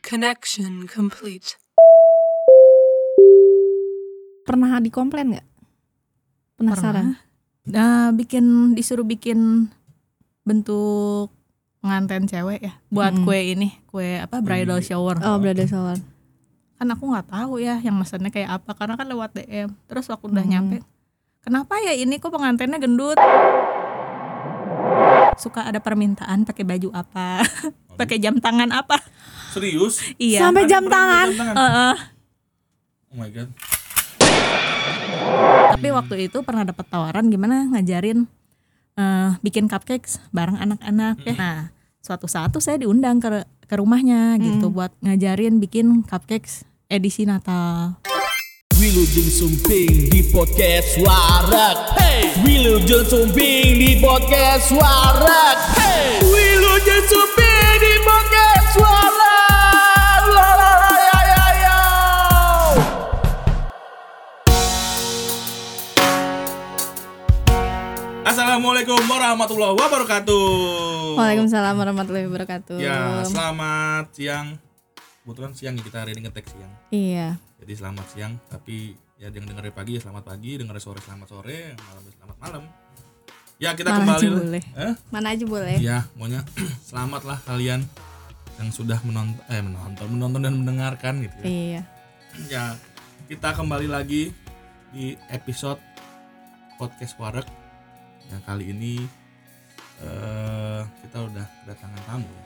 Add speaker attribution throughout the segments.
Speaker 1: Connection complete.
Speaker 2: Pernah dikomplain nggak? Penasaran?
Speaker 3: Nah, bikin disuruh bikin bentuk pengantin cewek ya buat
Speaker 2: Mm-mm.
Speaker 3: kue ini, kue apa bridal shower.
Speaker 2: Oh, berada shower.
Speaker 3: Kan aku nggak tahu ya yang mesennya kayak apa karena kan lewat DM. Terus aku udah
Speaker 2: Hmm.
Speaker 3: nyampe. Kenapa ya ini kok pengantinnya gendut? Suka ada permintaan pakai baju apa? pakai jam tangan apa?
Speaker 4: Serius?
Speaker 3: Iya.
Speaker 2: Sampai
Speaker 4: Ada
Speaker 2: jam
Speaker 4: perempuan
Speaker 2: tangan.
Speaker 4: jam tangan?
Speaker 3: Heeh.
Speaker 4: Oh my god.
Speaker 3: Tapi
Speaker 4: Iya.
Speaker 3: waktu itu pernah dapat tawaran gimana ngajarin eh, bikin cupcakes bareng anak-anak. ya. Nah, suatu saat tuh saya diundang ke ke rumahnya
Speaker 4: Mm.
Speaker 3: gitu buat ngajarin bikin cupcakes edisi Natal.
Speaker 5: Wilujeng Sumping di podcast Warak Hey Wilujeng Sumping di podcast Warak Hey Wilujeng Sumping di podcast Warak La la la ya ya ya
Speaker 4: Assalamualaikum warahmatullahi wabarakatuh.
Speaker 2: Waalaikumsalam warahmatullahi wabarakatuh.
Speaker 4: Ya, selamat siang. Kebetulan siang ya kita hari ini ngetek siang.
Speaker 2: Iya.
Speaker 4: Jadi selamat siang, tapi ya yang dengerin pagi ya selamat pagi, dengerin sore selamat sore, yang malam ya selamat malam. Ya, kita
Speaker 3: Malah
Speaker 4: kembali.
Speaker 3: aja boleh.
Speaker 4: Eh?
Speaker 2: Mana aja boleh.
Speaker 4: Ya, maunya selamatlah kalian yang sudah menonton eh menonton, menonton dan mendengarkan gitu ya.
Speaker 2: Iya.
Speaker 4: Ya, kita kembali lagi di episode podcast Warek. Yang kali ini eh kita udah kedatangan tamu. ya.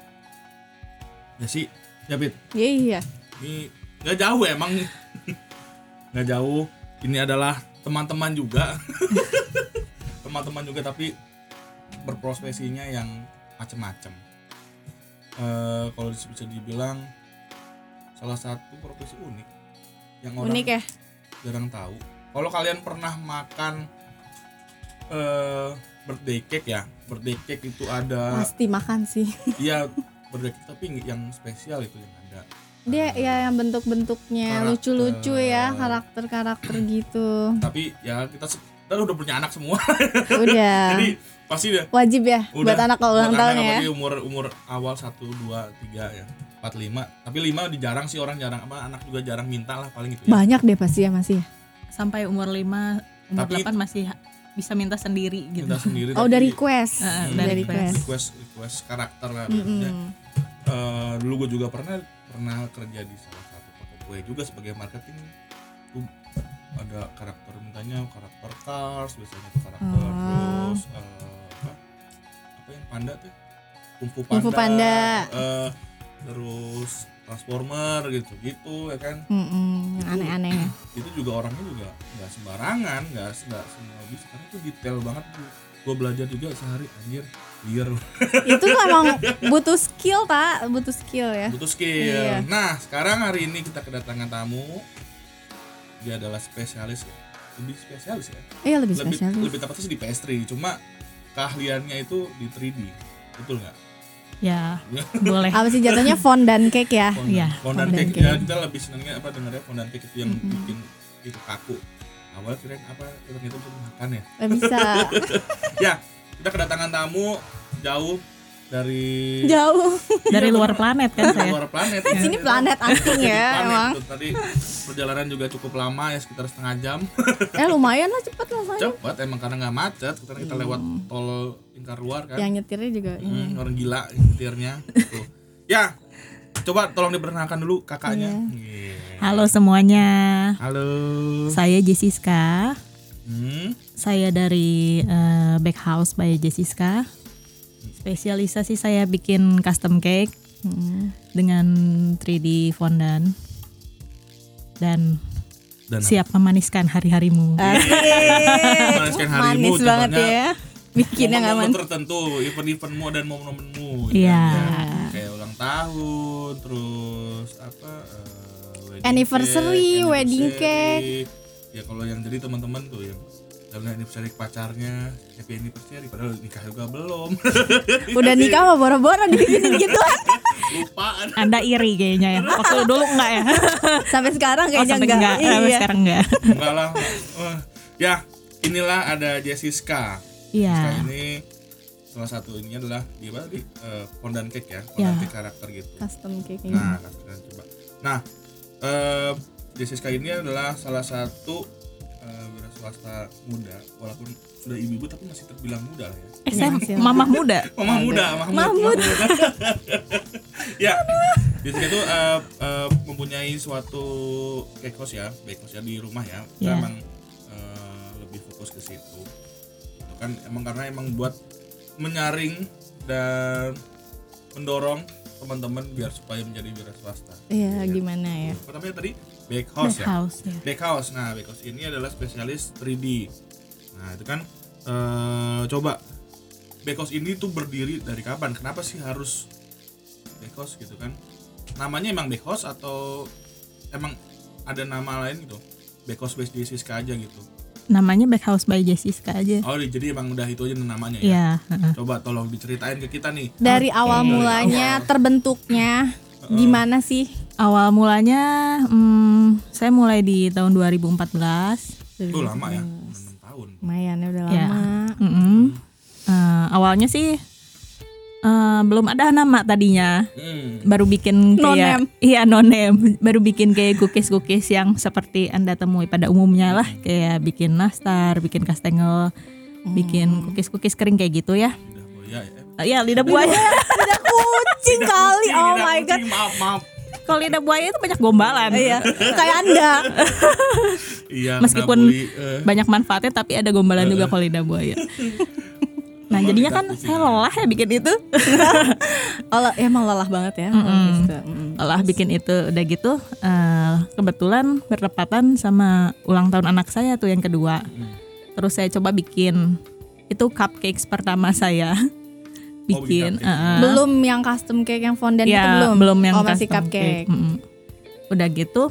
Speaker 4: Ya sih, ya Pit.
Speaker 2: Iya, iya.
Speaker 4: Ini nggak jauh emang. nggak jauh. Ini adalah teman-teman juga. teman-teman juga tapi berprofesinya yang macem-macem. Eh, kalau bisa dibilang salah satu profesi unik yang orang
Speaker 2: Unik ya.
Speaker 4: jarang tahu. Kalau kalian pernah makan eh birthday cake ya, birthday cake itu ada
Speaker 2: Pasti makan sih.
Speaker 4: iya birthday cake tapi yang spesial itu yang ada.
Speaker 2: Dia ya yang bentuk-bentuknya
Speaker 4: Karakter.
Speaker 2: lucu-lucu ya, karakter-karakter gitu.
Speaker 4: tapi ya kita se- kita udah punya anak semua
Speaker 2: Udah.
Speaker 4: jadi pasti udah
Speaker 2: Wajib ya Ah.
Speaker 4: Udah.
Speaker 2: buat anak kalau ulang
Speaker 4: buat anak
Speaker 2: tahun ya.
Speaker 4: apalagi umur umur awal satu dua tiga ya empat lima tapi lima di jarang sih orang jarang apa anak juga jarang minta lah paling itu ya.
Speaker 2: Banyak deh pasti ya masih. ya.
Speaker 3: Sampai umur 5, umur
Speaker 4: Tapi-
Speaker 3: 8 masih ha- bisa minta sendiri gitu.
Speaker 4: minta sendiri
Speaker 2: Oh,
Speaker 4: tapi-
Speaker 2: udah request.
Speaker 3: Heeh,
Speaker 4: Hmm,
Speaker 3: udah
Speaker 2: Udah
Speaker 3: request.
Speaker 2: request.
Speaker 4: request request karakter lah
Speaker 2: Mm-mm.
Speaker 4: maksudnya. Eh, dulu gue juga pernah pernah kerja di salah satu toko kue juga sebagai marketing tuh ada karakter mintanya karakter Cars biasanya tuh karakter
Speaker 2: Ah.
Speaker 4: terus eh, apa apa yang panda tuh kungfu panda,
Speaker 2: Kung Fu Panda.
Speaker 4: eh, terus transformer gitu gitu ya kan
Speaker 2: Mm-mm, yang Aneh-aneh ya.
Speaker 4: itu juga orangnya juga nggak sembarangan nggak nggak semua bisa karena itu detail banget tuh gue belajar juga sehari anjir liar
Speaker 2: Itu tuh emang butuh skill, Pak. Butuh skill ya.
Speaker 4: butuh skill.
Speaker 2: Iya.
Speaker 4: Nah, sekarang hari ini kita kedatangan tamu. Dia adalah spesialis ya. Lebih spesialis ya.
Speaker 2: Iya, lebih
Speaker 4: Lebih
Speaker 2: spesial.
Speaker 4: lebih tepatnya sih di pastry, cuma keahliannya itu di 3D. Betul
Speaker 2: Ah,
Speaker 4: nggak?
Speaker 3: Ya, boleh.
Speaker 2: Apa sih jatuhnya fondant cake ya?
Speaker 4: Fondant,
Speaker 3: Iya,
Speaker 4: fondant
Speaker 2: fondant cake.
Speaker 4: cake. Ya, kita lebih senangnya apa dengarnya fondant cake itu yang bikin itu kaku. Awal kirain apa ternyata untuk makan ya.
Speaker 2: Eh, bisa
Speaker 4: ya, kita kedatangan tamu jauh dari
Speaker 2: jauh.
Speaker 4: Iya.
Speaker 2: Eh,
Speaker 3: Dari luar planet kan saya.
Speaker 4: luar planet. ya.
Speaker 2: Sini planet asing ya
Speaker 4: Planet
Speaker 2: emang.
Speaker 4: tuh. Tadi perjalanan juga cukup lama ya sekitar setengah jam.
Speaker 2: Eh lumayan lah cepet lah saya.
Speaker 4: Cepat emang karena nggak macet. Karena kita lewat tol lingkar luar kan.
Speaker 2: Hmm. Yang nyetirnya juga ini.
Speaker 4: Hmm, orang gila nyetirnya. Tuh. Ya, coba tolong diperkenalkan dulu kakaknya. Iya.
Speaker 3: Halo semuanya.
Speaker 4: Halo.
Speaker 3: Saya Jessica.
Speaker 4: Hmm.
Speaker 3: Saya dari eh, Backhouse by Jessica. Spesialisasi saya bikin custom cake mm, dengan 3D fondant dan
Speaker 4: Dan
Speaker 3: siap memaniskan hari-harimu.
Speaker 2: Ah.
Speaker 4: Memaniskan harimu,
Speaker 2: Manis banget
Speaker 4: contohnya
Speaker 2: ya. Bikinnya nggak
Speaker 4: momen
Speaker 2: manis.
Speaker 4: tertentu, event-eventmu dan momen-momenmu.
Speaker 3: Iya.
Speaker 4: kan, ya. Kayak ulang tahun, terus apa? eh, wedding
Speaker 2: Anniversary,
Speaker 4: cake,
Speaker 2: wedding
Speaker 4: anniversary. Ya kalau yang jadi teman-teman tuh yang dalam anniversary ke pacarnya, happy anniversary padahal nikah juga belum.
Speaker 2: Udah nikah mah boro-boro dibikinin gituan.
Speaker 4: Lupaan.
Speaker 3: Anda iri kayaknya ya. Waktu dulu enggak ya?
Speaker 2: Sampai sekarang
Speaker 3: Oh,
Speaker 2: kayaknya
Speaker 3: sampai
Speaker 2: enggak.
Speaker 3: enggak. Sampai
Speaker 2: Iya.
Speaker 3: sekarang enggak.
Speaker 4: Enggak lah. Wah. Ya, inilah ada Jessica.
Speaker 3: Iya.
Speaker 4: Jessica ini salah satu ini adalah dia apa tadi Eh, fondant cake ya fondant
Speaker 2: Iya.
Speaker 3: Ya.
Speaker 4: cake karakter gitu
Speaker 2: custom cake ini.
Speaker 4: nah kita coba nah eh Jessica ini adalah salah satu eh, wira swasta muda walaupun sudah ibu-ibu tapi masih terbilang muda lah ya
Speaker 3: Eh, saya
Speaker 2: masih.
Speaker 3: mamah muda.
Speaker 4: Mamah muda,
Speaker 2: Iya. Mahmud.
Speaker 4: Mahmud. ya. Jessica itu eh, eh, mempunyai suatu kekos ya, backhouse ya di rumah ya.
Speaker 3: Iya.
Speaker 4: Kita emang eh, lebih fokus ke situ. Itu kan emang karena emang buat menyaring dan mendorong teman-teman biar supaya menjadi wira swasta. Gitu.
Speaker 2: Iya, gimana ya?
Speaker 4: Apa namanya tadi? Backhouse ya.
Speaker 3: House ya.
Speaker 4: Backhouse. Nah, Backhouse ini adalah spesialis 3D. Nah, itu kan eh coba Backhouse ini tuh berdiri dari kapan? Kenapa sih harus Backhouse gitu kan? Namanya emang Backhouse atau emang ada nama lain gitu? Backhouse by Jessica aja gitu.
Speaker 3: Namanya Backhouse by Jessica aja.
Speaker 4: Oh, jadi emang udah itu aja namanya ya.
Speaker 3: Iya. heeh.
Speaker 4: Coba tolong diceritain ke kita nih.
Speaker 2: Dari awal mulanya terbentuknya
Speaker 4: Uh-uh.
Speaker 2: gimana sih?
Speaker 3: Awal mulanya hmm, saya mulai di tahun 2014.
Speaker 4: Itu lama ya, 6 tahun.
Speaker 2: Lumayan ya udah
Speaker 3: Ya.
Speaker 2: lama.
Speaker 3: Mm-mm. Eh, awalnya sih eh, belum ada nama tadinya.
Speaker 4: Hmm.
Speaker 3: baru bikin
Speaker 2: No name.
Speaker 3: kayak iya no name baru bikin kayak cookies cookies yang seperti anda temui pada umumnya lah kayak bikin nastar bikin kastengel bikin cookies cookies kering kayak gitu ya
Speaker 4: Udah
Speaker 3: Eh,
Speaker 4: boya ya.
Speaker 3: ya lidah buaya lidah kucing kali
Speaker 4: Kucing,
Speaker 3: oh
Speaker 4: lidah
Speaker 3: my god
Speaker 4: kucing, Maaf, maaf.
Speaker 3: kalau lidah buaya itu banyak gombalan
Speaker 2: Kayak Anda.
Speaker 4: Iya, kena
Speaker 3: meskipun
Speaker 4: bully, eh.
Speaker 3: banyak manfaatnya tapi ada gombalan juga kalau lidah buaya nah jadinya kan saya lelah ya bikin itu
Speaker 2: Allah emang lelah banget ya. kalau gitu. Mm-mm.
Speaker 3: lelah bikin itu udah gitu eh, kebetulan bertepatan sama ulang tahun anak saya tuh yang kedua terus saya coba bikin itu cupcakes pertama saya
Speaker 4: Oh, bikin
Speaker 3: bikin
Speaker 4: cupcake.
Speaker 3: eh, eh,
Speaker 2: Belum yang custom cake yang fondant itu
Speaker 3: ya
Speaker 2: belum.
Speaker 3: belum, yang
Speaker 2: oh, masih
Speaker 3: custom
Speaker 2: cupcake.
Speaker 3: cake. Mm-mm. udah gitu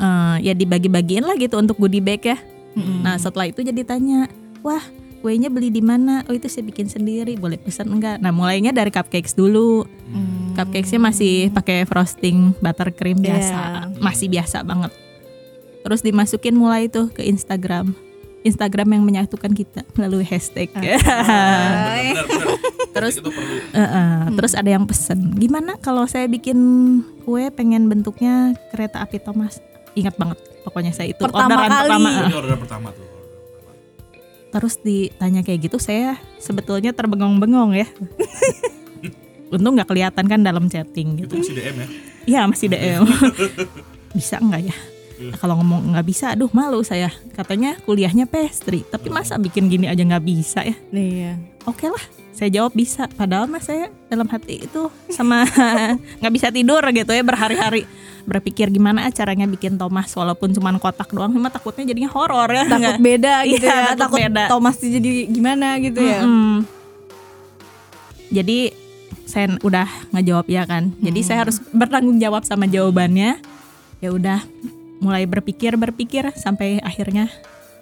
Speaker 3: eh, ya dibagi-bagiin lah gitu untuk goodie bag ya nah setelah itu jadi tanya wah kuenya beli di mana oh itu saya bikin sendiri boleh pesan enggak nah mulainya dari cupcakes dulu
Speaker 2: Hmm.
Speaker 3: Cupcakesnya masih pakai frosting
Speaker 2: Iya.
Speaker 3: buttercream biasa, masih biasa banget. Terus dimasukin mulai tuh ke Instagram, Instagram yang menyatukan kita melalui hashtag.
Speaker 2: Ah,
Speaker 3: Iya.
Speaker 2: Hai.
Speaker 4: benar benar terus itu perlu
Speaker 3: Heeh,
Speaker 2: Hmm.
Speaker 3: Terus ada yang pesen, gimana kalau saya bikin kue pengen bentuknya kereta api Thomas? Ingat banget, pokoknya saya itu
Speaker 2: Pertama
Speaker 3: orderan
Speaker 2: kali.
Speaker 3: pertama.
Speaker 4: itu order pertama tuh order pertama.
Speaker 3: Terus ditanya kayak gitu, saya sebetulnya terbengong-bengong ya. Untung nggak kelihatan kan dalam chatting gitu.
Speaker 4: itu masih DM ya
Speaker 3: Iya masih DM. bisa nggak ya? Kalau ngomong nggak bisa, aduh malu saya. Katanya kuliahnya pastry, tapi masa bikin gini aja nggak bisa ya?
Speaker 2: Iya.
Speaker 3: Oke lah, saya jawab bisa. Padahal mas saya dalam hati itu sama nggak bisa tidur gitu ya berhari-hari berpikir gimana caranya bikin Thomas walaupun cuman kotak doang, cuma takutnya jadinya horor ya.
Speaker 2: Takut
Speaker 3: nggak?
Speaker 2: beda gitu
Speaker 3: Iya,
Speaker 2: ya.
Speaker 3: takut
Speaker 2: Takut
Speaker 3: beda.
Speaker 2: Thomas jadi gimana gitu ya.
Speaker 3: Mm-mm. Jadi saya udah ngejawab ya kan. Jadi
Speaker 2: Hmm.
Speaker 3: saya harus bertanggung jawab sama jawabannya. Ya udah mulai berpikir berpikir sampai akhirnya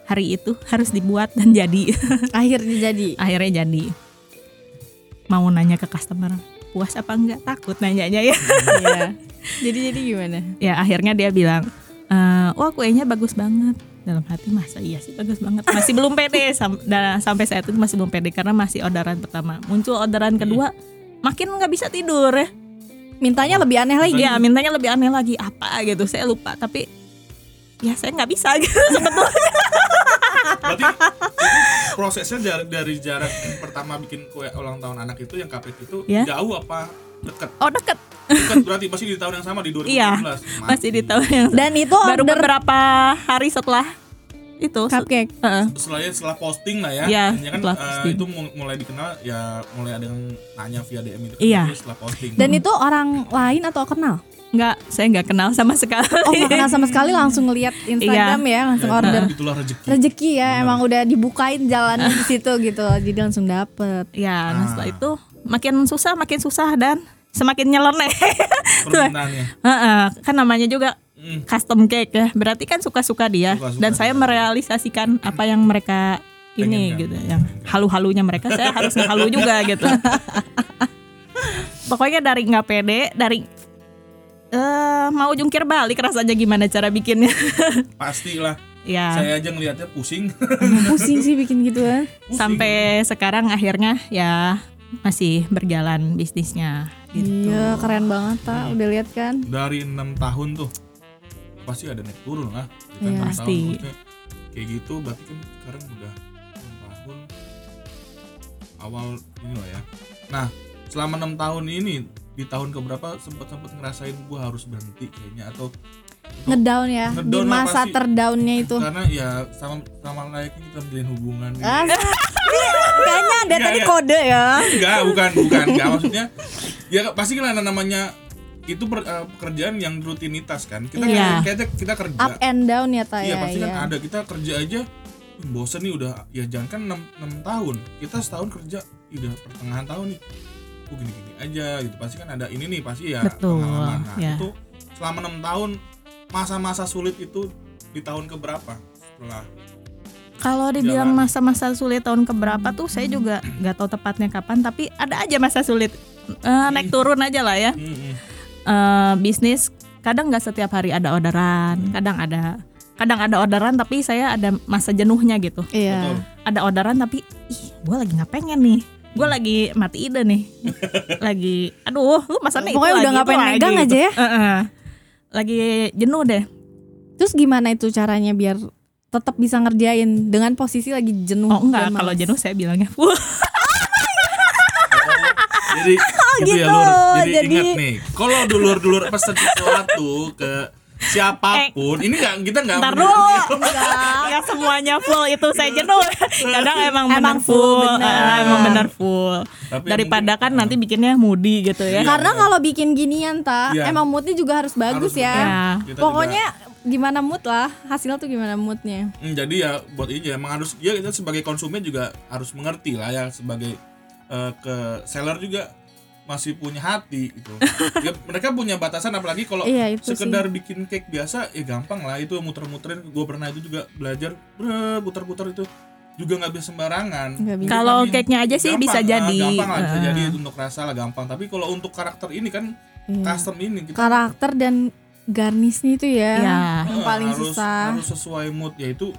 Speaker 3: hari itu harus dibuat dan jadi.
Speaker 2: Akhirnya jadi.
Speaker 3: akhirnya jadi. Mau nanya ke customer puas apa enggak takut nanyanya ya.
Speaker 2: Iya. Jadi jadi gimana?
Speaker 3: ya akhirnya dia bilang, "Eh, wah kuenya bagus banget. Dalam hati masa iya sih bagus banget. Masih belum pede sam- da- sampai saat itu masih belum pede karena masih orderan pertama. Muncul orderan kedua, makin nggak bisa tidur ya.
Speaker 2: Mintanya lebih aneh lagi.
Speaker 3: Ya mintanya lebih aneh lagi apa gitu. Saya lupa tapi ya saya nggak bisa gitu sebetulnya.
Speaker 4: berarti prosesnya dari, dari jarak pertama bikin kue ulang tahun anak itu yang kapit itu
Speaker 3: Ya.
Speaker 4: jauh apa dekat
Speaker 3: Oh deket.
Speaker 4: dekat berarti masih di tahun yang sama di 2017
Speaker 3: Iya. Masih di tahun yang
Speaker 2: Dan itu
Speaker 3: baru
Speaker 2: order
Speaker 3: beberapa hari setelah itu.
Speaker 2: cupcake.
Speaker 3: Heeh.
Speaker 4: selain setelah posting lah ya,
Speaker 3: Iya,
Speaker 4: Hanya kan
Speaker 3: setelah
Speaker 4: eh,
Speaker 3: posting.
Speaker 4: itu mu- mulai dikenal ya mulai ada yang nanya via DM itu kan
Speaker 3: Iya.
Speaker 4: itu setelah posting
Speaker 2: Dan itu orang lain atau kenal?
Speaker 3: Nggak, saya nggak kenal sama sekali.
Speaker 2: Oh nggak kenal sama sekali langsung ngeliat
Speaker 3: Iya.
Speaker 2: Instagram ya langsung
Speaker 4: Dan
Speaker 2: order.
Speaker 4: itulah rezeki
Speaker 2: Rezeki ya emang udah dibukain jalan di situ gitu jadi langsung dapet.
Speaker 3: Ya,
Speaker 4: Ah.
Speaker 3: nah setelah itu makin susah, makin susah dan semakin nyeleneh. Tuh,
Speaker 4: permintaannya
Speaker 3: heeh, kan namanya juga
Speaker 4: Hmm.
Speaker 3: custom cake ya. Berarti kan suka-suka dia
Speaker 4: Suka-suka
Speaker 3: dan saya
Speaker 4: dia. kan?
Speaker 3: merealisasikan apa yang mereka ini
Speaker 4: Pengenkan.
Speaker 3: gitu yang halu-halunya mereka saya harus ngehalu juga gitu. Pokoknya dari nggak pede, dari eh mau jungkir balik rasanya gimana cara bikinnya.
Speaker 4: pastilah
Speaker 3: ya
Speaker 4: Saya aja ngelihatnya pusing.
Speaker 2: Pusing sih bikin gitu ya. gituan.
Speaker 4: Pusing.
Speaker 3: sampai sekarang akhirnya ya masih berjalan bisnisnya gitu.
Speaker 2: Iya keren banget pak. Udah lihat kan?
Speaker 4: dari enam tahun tuh pasti ada naik turun lah. Ya,
Speaker 2: Iya,
Speaker 4: enam
Speaker 3: pasti.
Speaker 4: Tahun, maksudnya kayak gitu berarti kan sekarang udah enam tahun awal ini lah ya. Nah selama enam tahun ini di tahun keberapa sempat sempat ngerasain gua harus berhenti kayaknya atau
Speaker 2: Ngedown ya. Di
Speaker 4: Ngedown apa
Speaker 2: masa
Speaker 4: sih?
Speaker 2: terdownnya itu.
Speaker 4: karena ya sama sama layaknya kita menjalin hubungan gitu.
Speaker 2: Ah, Kayaknya ada
Speaker 4: Nggak,
Speaker 2: tadi
Speaker 4: nggak.
Speaker 2: kode ya.
Speaker 4: Enggak, bukan, bukan. Enggak maksudnya ya pasti kan ada namanya itu per- eh, pekerjaan yang rutinitas kan. Kita
Speaker 3: Iya.
Speaker 4: kayaknya kita kerja.
Speaker 2: Up and down ya tak
Speaker 4: Iya,
Speaker 2: ya.
Speaker 4: pasti
Speaker 2: Iya.
Speaker 4: kan ada kita kerja aja "Ih, bosen nih udah ya jangan kan 6, tahun. Kita setahun kerja ih, udah pertengahan tahun nih. Kok gini-gini aja gitu. Pasti kan ada ini nih pasti ya
Speaker 3: Betul,
Speaker 4: pengalaman. Nah,
Speaker 3: ya.
Speaker 4: itu selama enam tahun masa-masa sulit itu di tahun keberapa setelah
Speaker 3: Kalau dibilang
Speaker 4: Jalan.
Speaker 3: masa-masa sulit tahun keberapa tuh saya juga nggak tahu tepatnya kapan tapi ada aja masa sulit Eh, naik turun aja lah ya.
Speaker 4: Mm, mm.
Speaker 3: eh bisnis kadang nggak setiap hari ada orderan, kadang ada kadang ada orderan tapi saya ada masa jenuhnya gitu.
Speaker 2: Iya.
Speaker 4: Betul.
Speaker 3: Ada orderan tapi ih gue lagi nggak pengen nih, gue lagi mati ide nih, lagi aduh lu
Speaker 2: Pokoknya
Speaker 3: masanya itu
Speaker 2: udah
Speaker 3: lagi,
Speaker 2: nggak
Speaker 3: itu
Speaker 2: pengen
Speaker 3: lagi,
Speaker 2: megang
Speaker 3: gitu.
Speaker 2: aja ya?
Speaker 3: Heeh. lagi jenuh deh.
Speaker 2: Terus gimana itu caranya biar tetap bisa ngerjain dengan posisi lagi jenuh?
Speaker 3: Oh enggak
Speaker 2: dan
Speaker 3: kalau
Speaker 2: malas?
Speaker 3: jenuh saya bilangnya wah
Speaker 4: jadi gitu, ya
Speaker 2: gitu.
Speaker 4: Lur. Jadi,
Speaker 2: Jadi-
Speaker 4: ingat nih, kalau dulur-dulur pesen sesuatu ke siapapun, ini nggak kita nggak
Speaker 3: ntar dulu.
Speaker 4: peduli.
Speaker 3: Enggak semuanya full itu saya jenuh. Kadang emang,
Speaker 2: Emang
Speaker 3: bener
Speaker 2: full,
Speaker 3: full,
Speaker 2: bener.
Speaker 3: eh, emang bener full.
Speaker 4: Tapi Iya.
Speaker 3: Daripada
Speaker 4: mungkin-
Speaker 3: kan nanti bikinnya moody gitu ya.
Speaker 2: Karena kalau bikin ginian tak,
Speaker 4: Iya.
Speaker 2: emang moodnya juga harus bagus
Speaker 4: Harus
Speaker 2: ya.
Speaker 4: betul.
Speaker 3: Iya.
Speaker 4: Kita juga-
Speaker 2: Pokoknya gimana mood lah, hasilnya tuh gimana moodnya.
Speaker 4: Hmm, jadi ya buat ini emang harus ya kita sebagai konsumen juga harus mengerti lah ya sebagai eh, ke seller juga masih punya hati gitu. Ya, mereka punya batasan apalagi kalau
Speaker 2: Iya, itu
Speaker 4: sekedar bikin cake biasa ya gampang lah itu muter-muterin gue pernah itu juga belajar bre, putar-putar itu juga nggak bisa sembarangan.
Speaker 2: Nggak bisa.
Speaker 3: Kalau
Speaker 4: Vitamin
Speaker 3: cake-nya aja sih
Speaker 4: gampang,
Speaker 3: bisa
Speaker 4: ah,
Speaker 3: jadi.
Speaker 4: Gampang lah bisa
Speaker 3: Ah.
Speaker 4: jadi untuk rasa lah gampang. Tapi kalau untuk karakter ini kan
Speaker 3: Iya.
Speaker 4: custom ini gitu. kita
Speaker 2: Iya. Karakter dan garnisnya itu ya,
Speaker 3: Iya.
Speaker 2: yang paling
Speaker 4: Nah, harus,
Speaker 2: susah.
Speaker 4: harus sesuai mood yaitu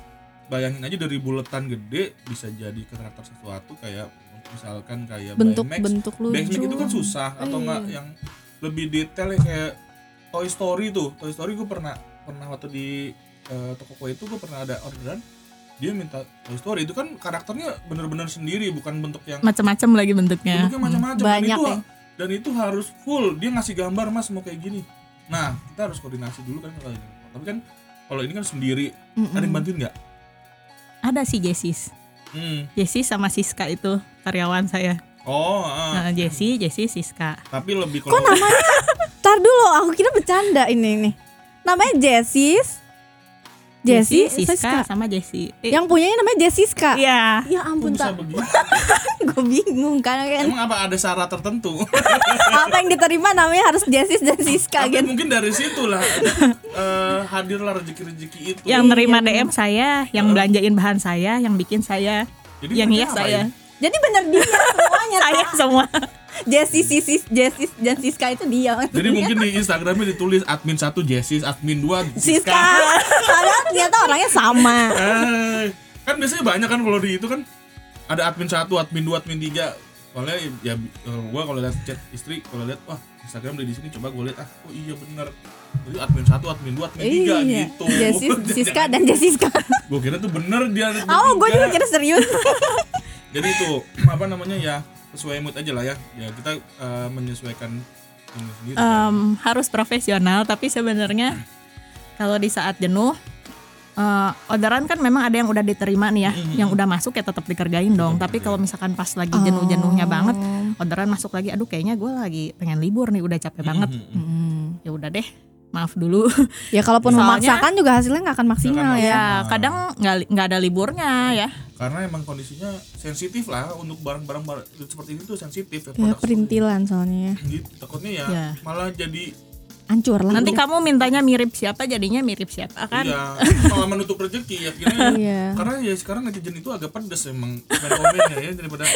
Speaker 4: bayangin aja dari buletan gede bisa jadi ke karakter sesuatu kayak misalkan kayak Baymax.
Speaker 2: Bentuk-bentuk
Speaker 4: Baymax
Speaker 2: lucu. Iya.
Speaker 4: itu kan susah atau enggak yang lebih detail ya, kayak Toy Story tuh Toy Story gue pernah pernah waktu di eh, toko kue itu gue pernah ada orderan dia minta Toy Story itu kan karakternya bener-bener sendiri bukan bentuk yang
Speaker 3: macam-macam lagi bentuknya.
Speaker 4: bentuknya macam-macam dan
Speaker 2: Ya. Banyak
Speaker 4: itu
Speaker 2: ya.
Speaker 4: dan itu harus full dia ngasih gambar mas mau kayak gini nah kita harus koordinasi dulu kan kalau ini tapi kan kalau ini kan sendiri ada yang bantuin nggak
Speaker 3: Ada si Jessis.
Speaker 4: hmm.
Speaker 3: Jessis sama Siska itu karyawan saya.
Speaker 4: oh ah.
Speaker 3: Nah, Jessie, Jessie, Siska.
Speaker 4: tapi lebih
Speaker 2: iya. Kok
Speaker 4: kalau
Speaker 2: namanya? Tar dulu, aku kira bercanda ini nih. Namanya Jessis. Jessie,
Speaker 3: Jessie, Siska
Speaker 2: Siska.
Speaker 3: sama Jessie. Eh,
Speaker 2: Yang punyanya namanya Jessiska.
Speaker 3: Iya.
Speaker 2: Ya
Speaker 4: kok
Speaker 2: ampun,
Speaker 4: bisa
Speaker 2: tak.
Speaker 4: begitu
Speaker 2: Gue bingung kan. kan.
Speaker 4: emang apa ada syarat tertentu
Speaker 2: Apa yang diterima namanya harus Jessis dan Siska
Speaker 4: tapi
Speaker 2: gitu.
Speaker 4: mungkin dari situlah eh, hadirlah rezeki-rezeki itu
Speaker 3: Iya, Yang nerima DM saya, yang belanjain bahan saya, yang bikin saya,
Speaker 4: Jadi
Speaker 3: yang hias
Speaker 4: mereka
Speaker 3: saya.
Speaker 4: ngapain?
Speaker 2: Jadi bener dia semuanya.
Speaker 3: Saya semua.
Speaker 2: Jessie, Sisis, Jessis dan Siska itu dia.
Speaker 4: jadi mungkin di Instagramnya ditulis admin 1 Jessis, admin 2
Speaker 2: Siska. Padahal ternyata orangnya sama.
Speaker 4: Eh, kan biasanya banyak kan kalau di itu kan ada admin satu, admin dua, admin tiga. Soalnya ya eh, gua kalau lihat chat istri, kalau lihat wah Instagram udah di sini coba gua lihat ah oh iya bener. Jadi admin satu, admin dua, admin tiga gitu.
Speaker 2: Iya. Jessis, Siska dan Jessica.
Speaker 4: Gua kira tuh bener dia. ada
Speaker 2: Oh, gue
Speaker 4: tiga.
Speaker 2: juga kira serius.
Speaker 4: Jadi itu apa namanya ya sesuai mood aja lah ya. Ya kita eh, menyesuaikan ini sendiri.
Speaker 2: Eh.
Speaker 3: Em, harus profesional, tapi sebenarnya kalau di saat jenuh eh, orderan kan memang ada yang udah diterima nih ya, yang udah masuk ya tetap dikerjain dong. Tapi kalau misalkan pas lagi jenuh-jenuhnya banget, orderan masuk lagi, aduh kayaknya gue lagi pengen libur nih, udah capek banget. Mm, Ya udah deh, maaf dulu.
Speaker 2: Ya kalaupun
Speaker 3: Soalnya-
Speaker 2: memaksakan juga hasilnya nggak akan maksimal
Speaker 4: Nggak akan
Speaker 2: ya.
Speaker 3: ya kadang nggak li- nggak ada liburnya ya.
Speaker 4: Karena emang kondisinya sensitif lah untuk barang-barang bar- seperti ini tuh sensitif
Speaker 2: Ya
Speaker 4: ya, produk-
Speaker 2: perintilan soalnya ya.
Speaker 4: gitu takutnya ya
Speaker 3: Ya.
Speaker 4: malah jadi
Speaker 2: hancur lah. Iya.
Speaker 3: Nanti
Speaker 2: udah.
Speaker 3: kamu mintanya mirip siapa jadinya mirip siapa kan?
Speaker 4: Iya, malah menutup rezeki akhirnya.
Speaker 2: Iya.
Speaker 4: Karena ya sekarang netizen itu agak pedes emang komen-komennya ya daripada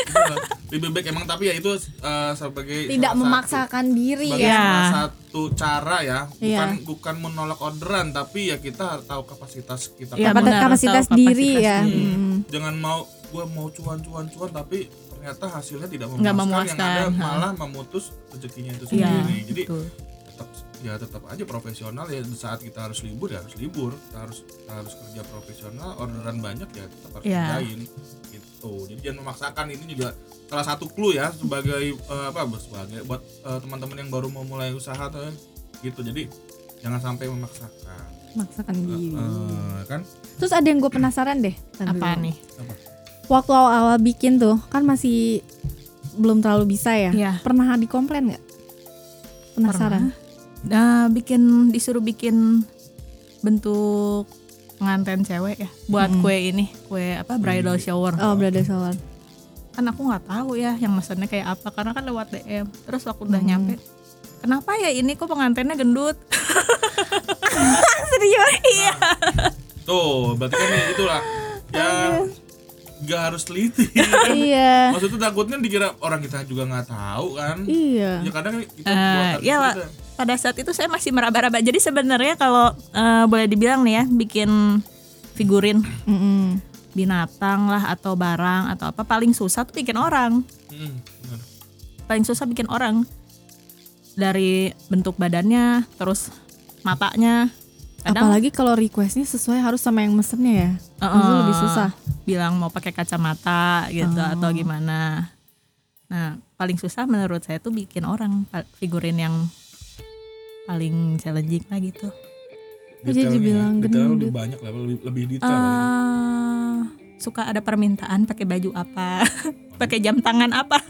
Speaker 4: lebih baik emang tapi ya itu eh, sebagai
Speaker 2: Tidak
Speaker 4: salah satu-
Speaker 2: memaksakan diri
Speaker 4: sebagai
Speaker 2: ya.
Speaker 3: Iya.
Speaker 4: salah satu cara ya,
Speaker 2: Iya.
Speaker 4: bukan bukan menolak orderan tapi ya kita harus tahu kapasitas kita.
Speaker 3: Iya,
Speaker 2: Kapat-
Speaker 3: benar,
Speaker 2: kapasitas
Speaker 3: tahu
Speaker 2: diri
Speaker 3: kapasitas
Speaker 2: ya.
Speaker 4: Hmm.
Speaker 3: diri.
Speaker 4: Jangan mau gua mau cuan-cuan-cuan tapi ternyata hasilnya tidak memuaskan,
Speaker 3: Nggak
Speaker 4: yang ada
Speaker 3: memuaskan, ha.
Speaker 4: malah memutus rezekinya itu
Speaker 3: Iya,
Speaker 4: sendiri. Jadi
Speaker 3: betul.
Speaker 4: tetap ya tetap aja profesional ya di saat kita harus libur ya harus libur kita harus kita harus kerja profesional orderan banyak ya tetap harus
Speaker 3: Iya.
Speaker 4: kerjain gitu jadi jangan memaksakan ini juga salah satu clue ya sebagai eh, apa sebagai buat eh, teman-teman yang baru mau mulai usaha tuh gitu jadi jangan sampai memaksakan
Speaker 2: Memaksakan
Speaker 3: Iya.
Speaker 2: diri.
Speaker 4: Eh, kan
Speaker 2: Terus ada yang gue penasaran deh. Ntar
Speaker 3: Apa
Speaker 2: dulu.
Speaker 3: nih?
Speaker 2: Waktu awal-awal bikin tuh kan masih belum terlalu bisa ya.
Speaker 3: Iya.
Speaker 2: Pernah dikomplain nggak? Penasaran.
Speaker 3: Nah, bikin disuruh bikin bentuk pengantin cewek ya buat kue ini, kue apa bridal shower.
Speaker 2: Hmm. Oh, berada soal.
Speaker 3: Kan aku nggak tahu ya yang mesennya kayak apa karena kan lewat DM. Terus aku
Speaker 2: Hmm.
Speaker 3: udah nyampe. Kenapa ya ini kok pengantinnya gendut?
Speaker 2: Serius? Iya.
Speaker 4: tuh berarti kan itulah ya nggak harus teliti
Speaker 2: Iya.
Speaker 4: maksudnya takutnya dikira orang kita juga nggak tahu kan
Speaker 2: Iya.
Speaker 4: ya kadang kita
Speaker 3: Eh, ya Wak, pada saat itu saya masih meraba-raba. Jadi sebenarnya kalau eh, boleh dibilang nih ya bikin figurin
Speaker 2: Mm-mm.
Speaker 3: binatang lah atau barang atau apa paling susah tuh bikin orang.
Speaker 4: Hmm, benar.
Speaker 3: paling susah bikin orang dari bentuk badannya terus matanya kadang
Speaker 2: Apalagi kalau requestnya sesuai harus sama yang mesennya ya.
Speaker 3: eh,
Speaker 2: Itu lebih susah. Oh.
Speaker 3: bilang mau pakai kacamata gitu atau gimana nah paling susah menurut saya tuh bikin orang pa- figurin yang paling challenging lah gitu
Speaker 2: Jadi
Speaker 4: Detailnya,
Speaker 2: dibilang Ah.
Speaker 4: detailnya
Speaker 2: gendut.
Speaker 4: lebih banyak lah lebih, lebih detail lah ya.
Speaker 3: Eh, suka ada permintaan pakai baju apa pakai jam tangan apa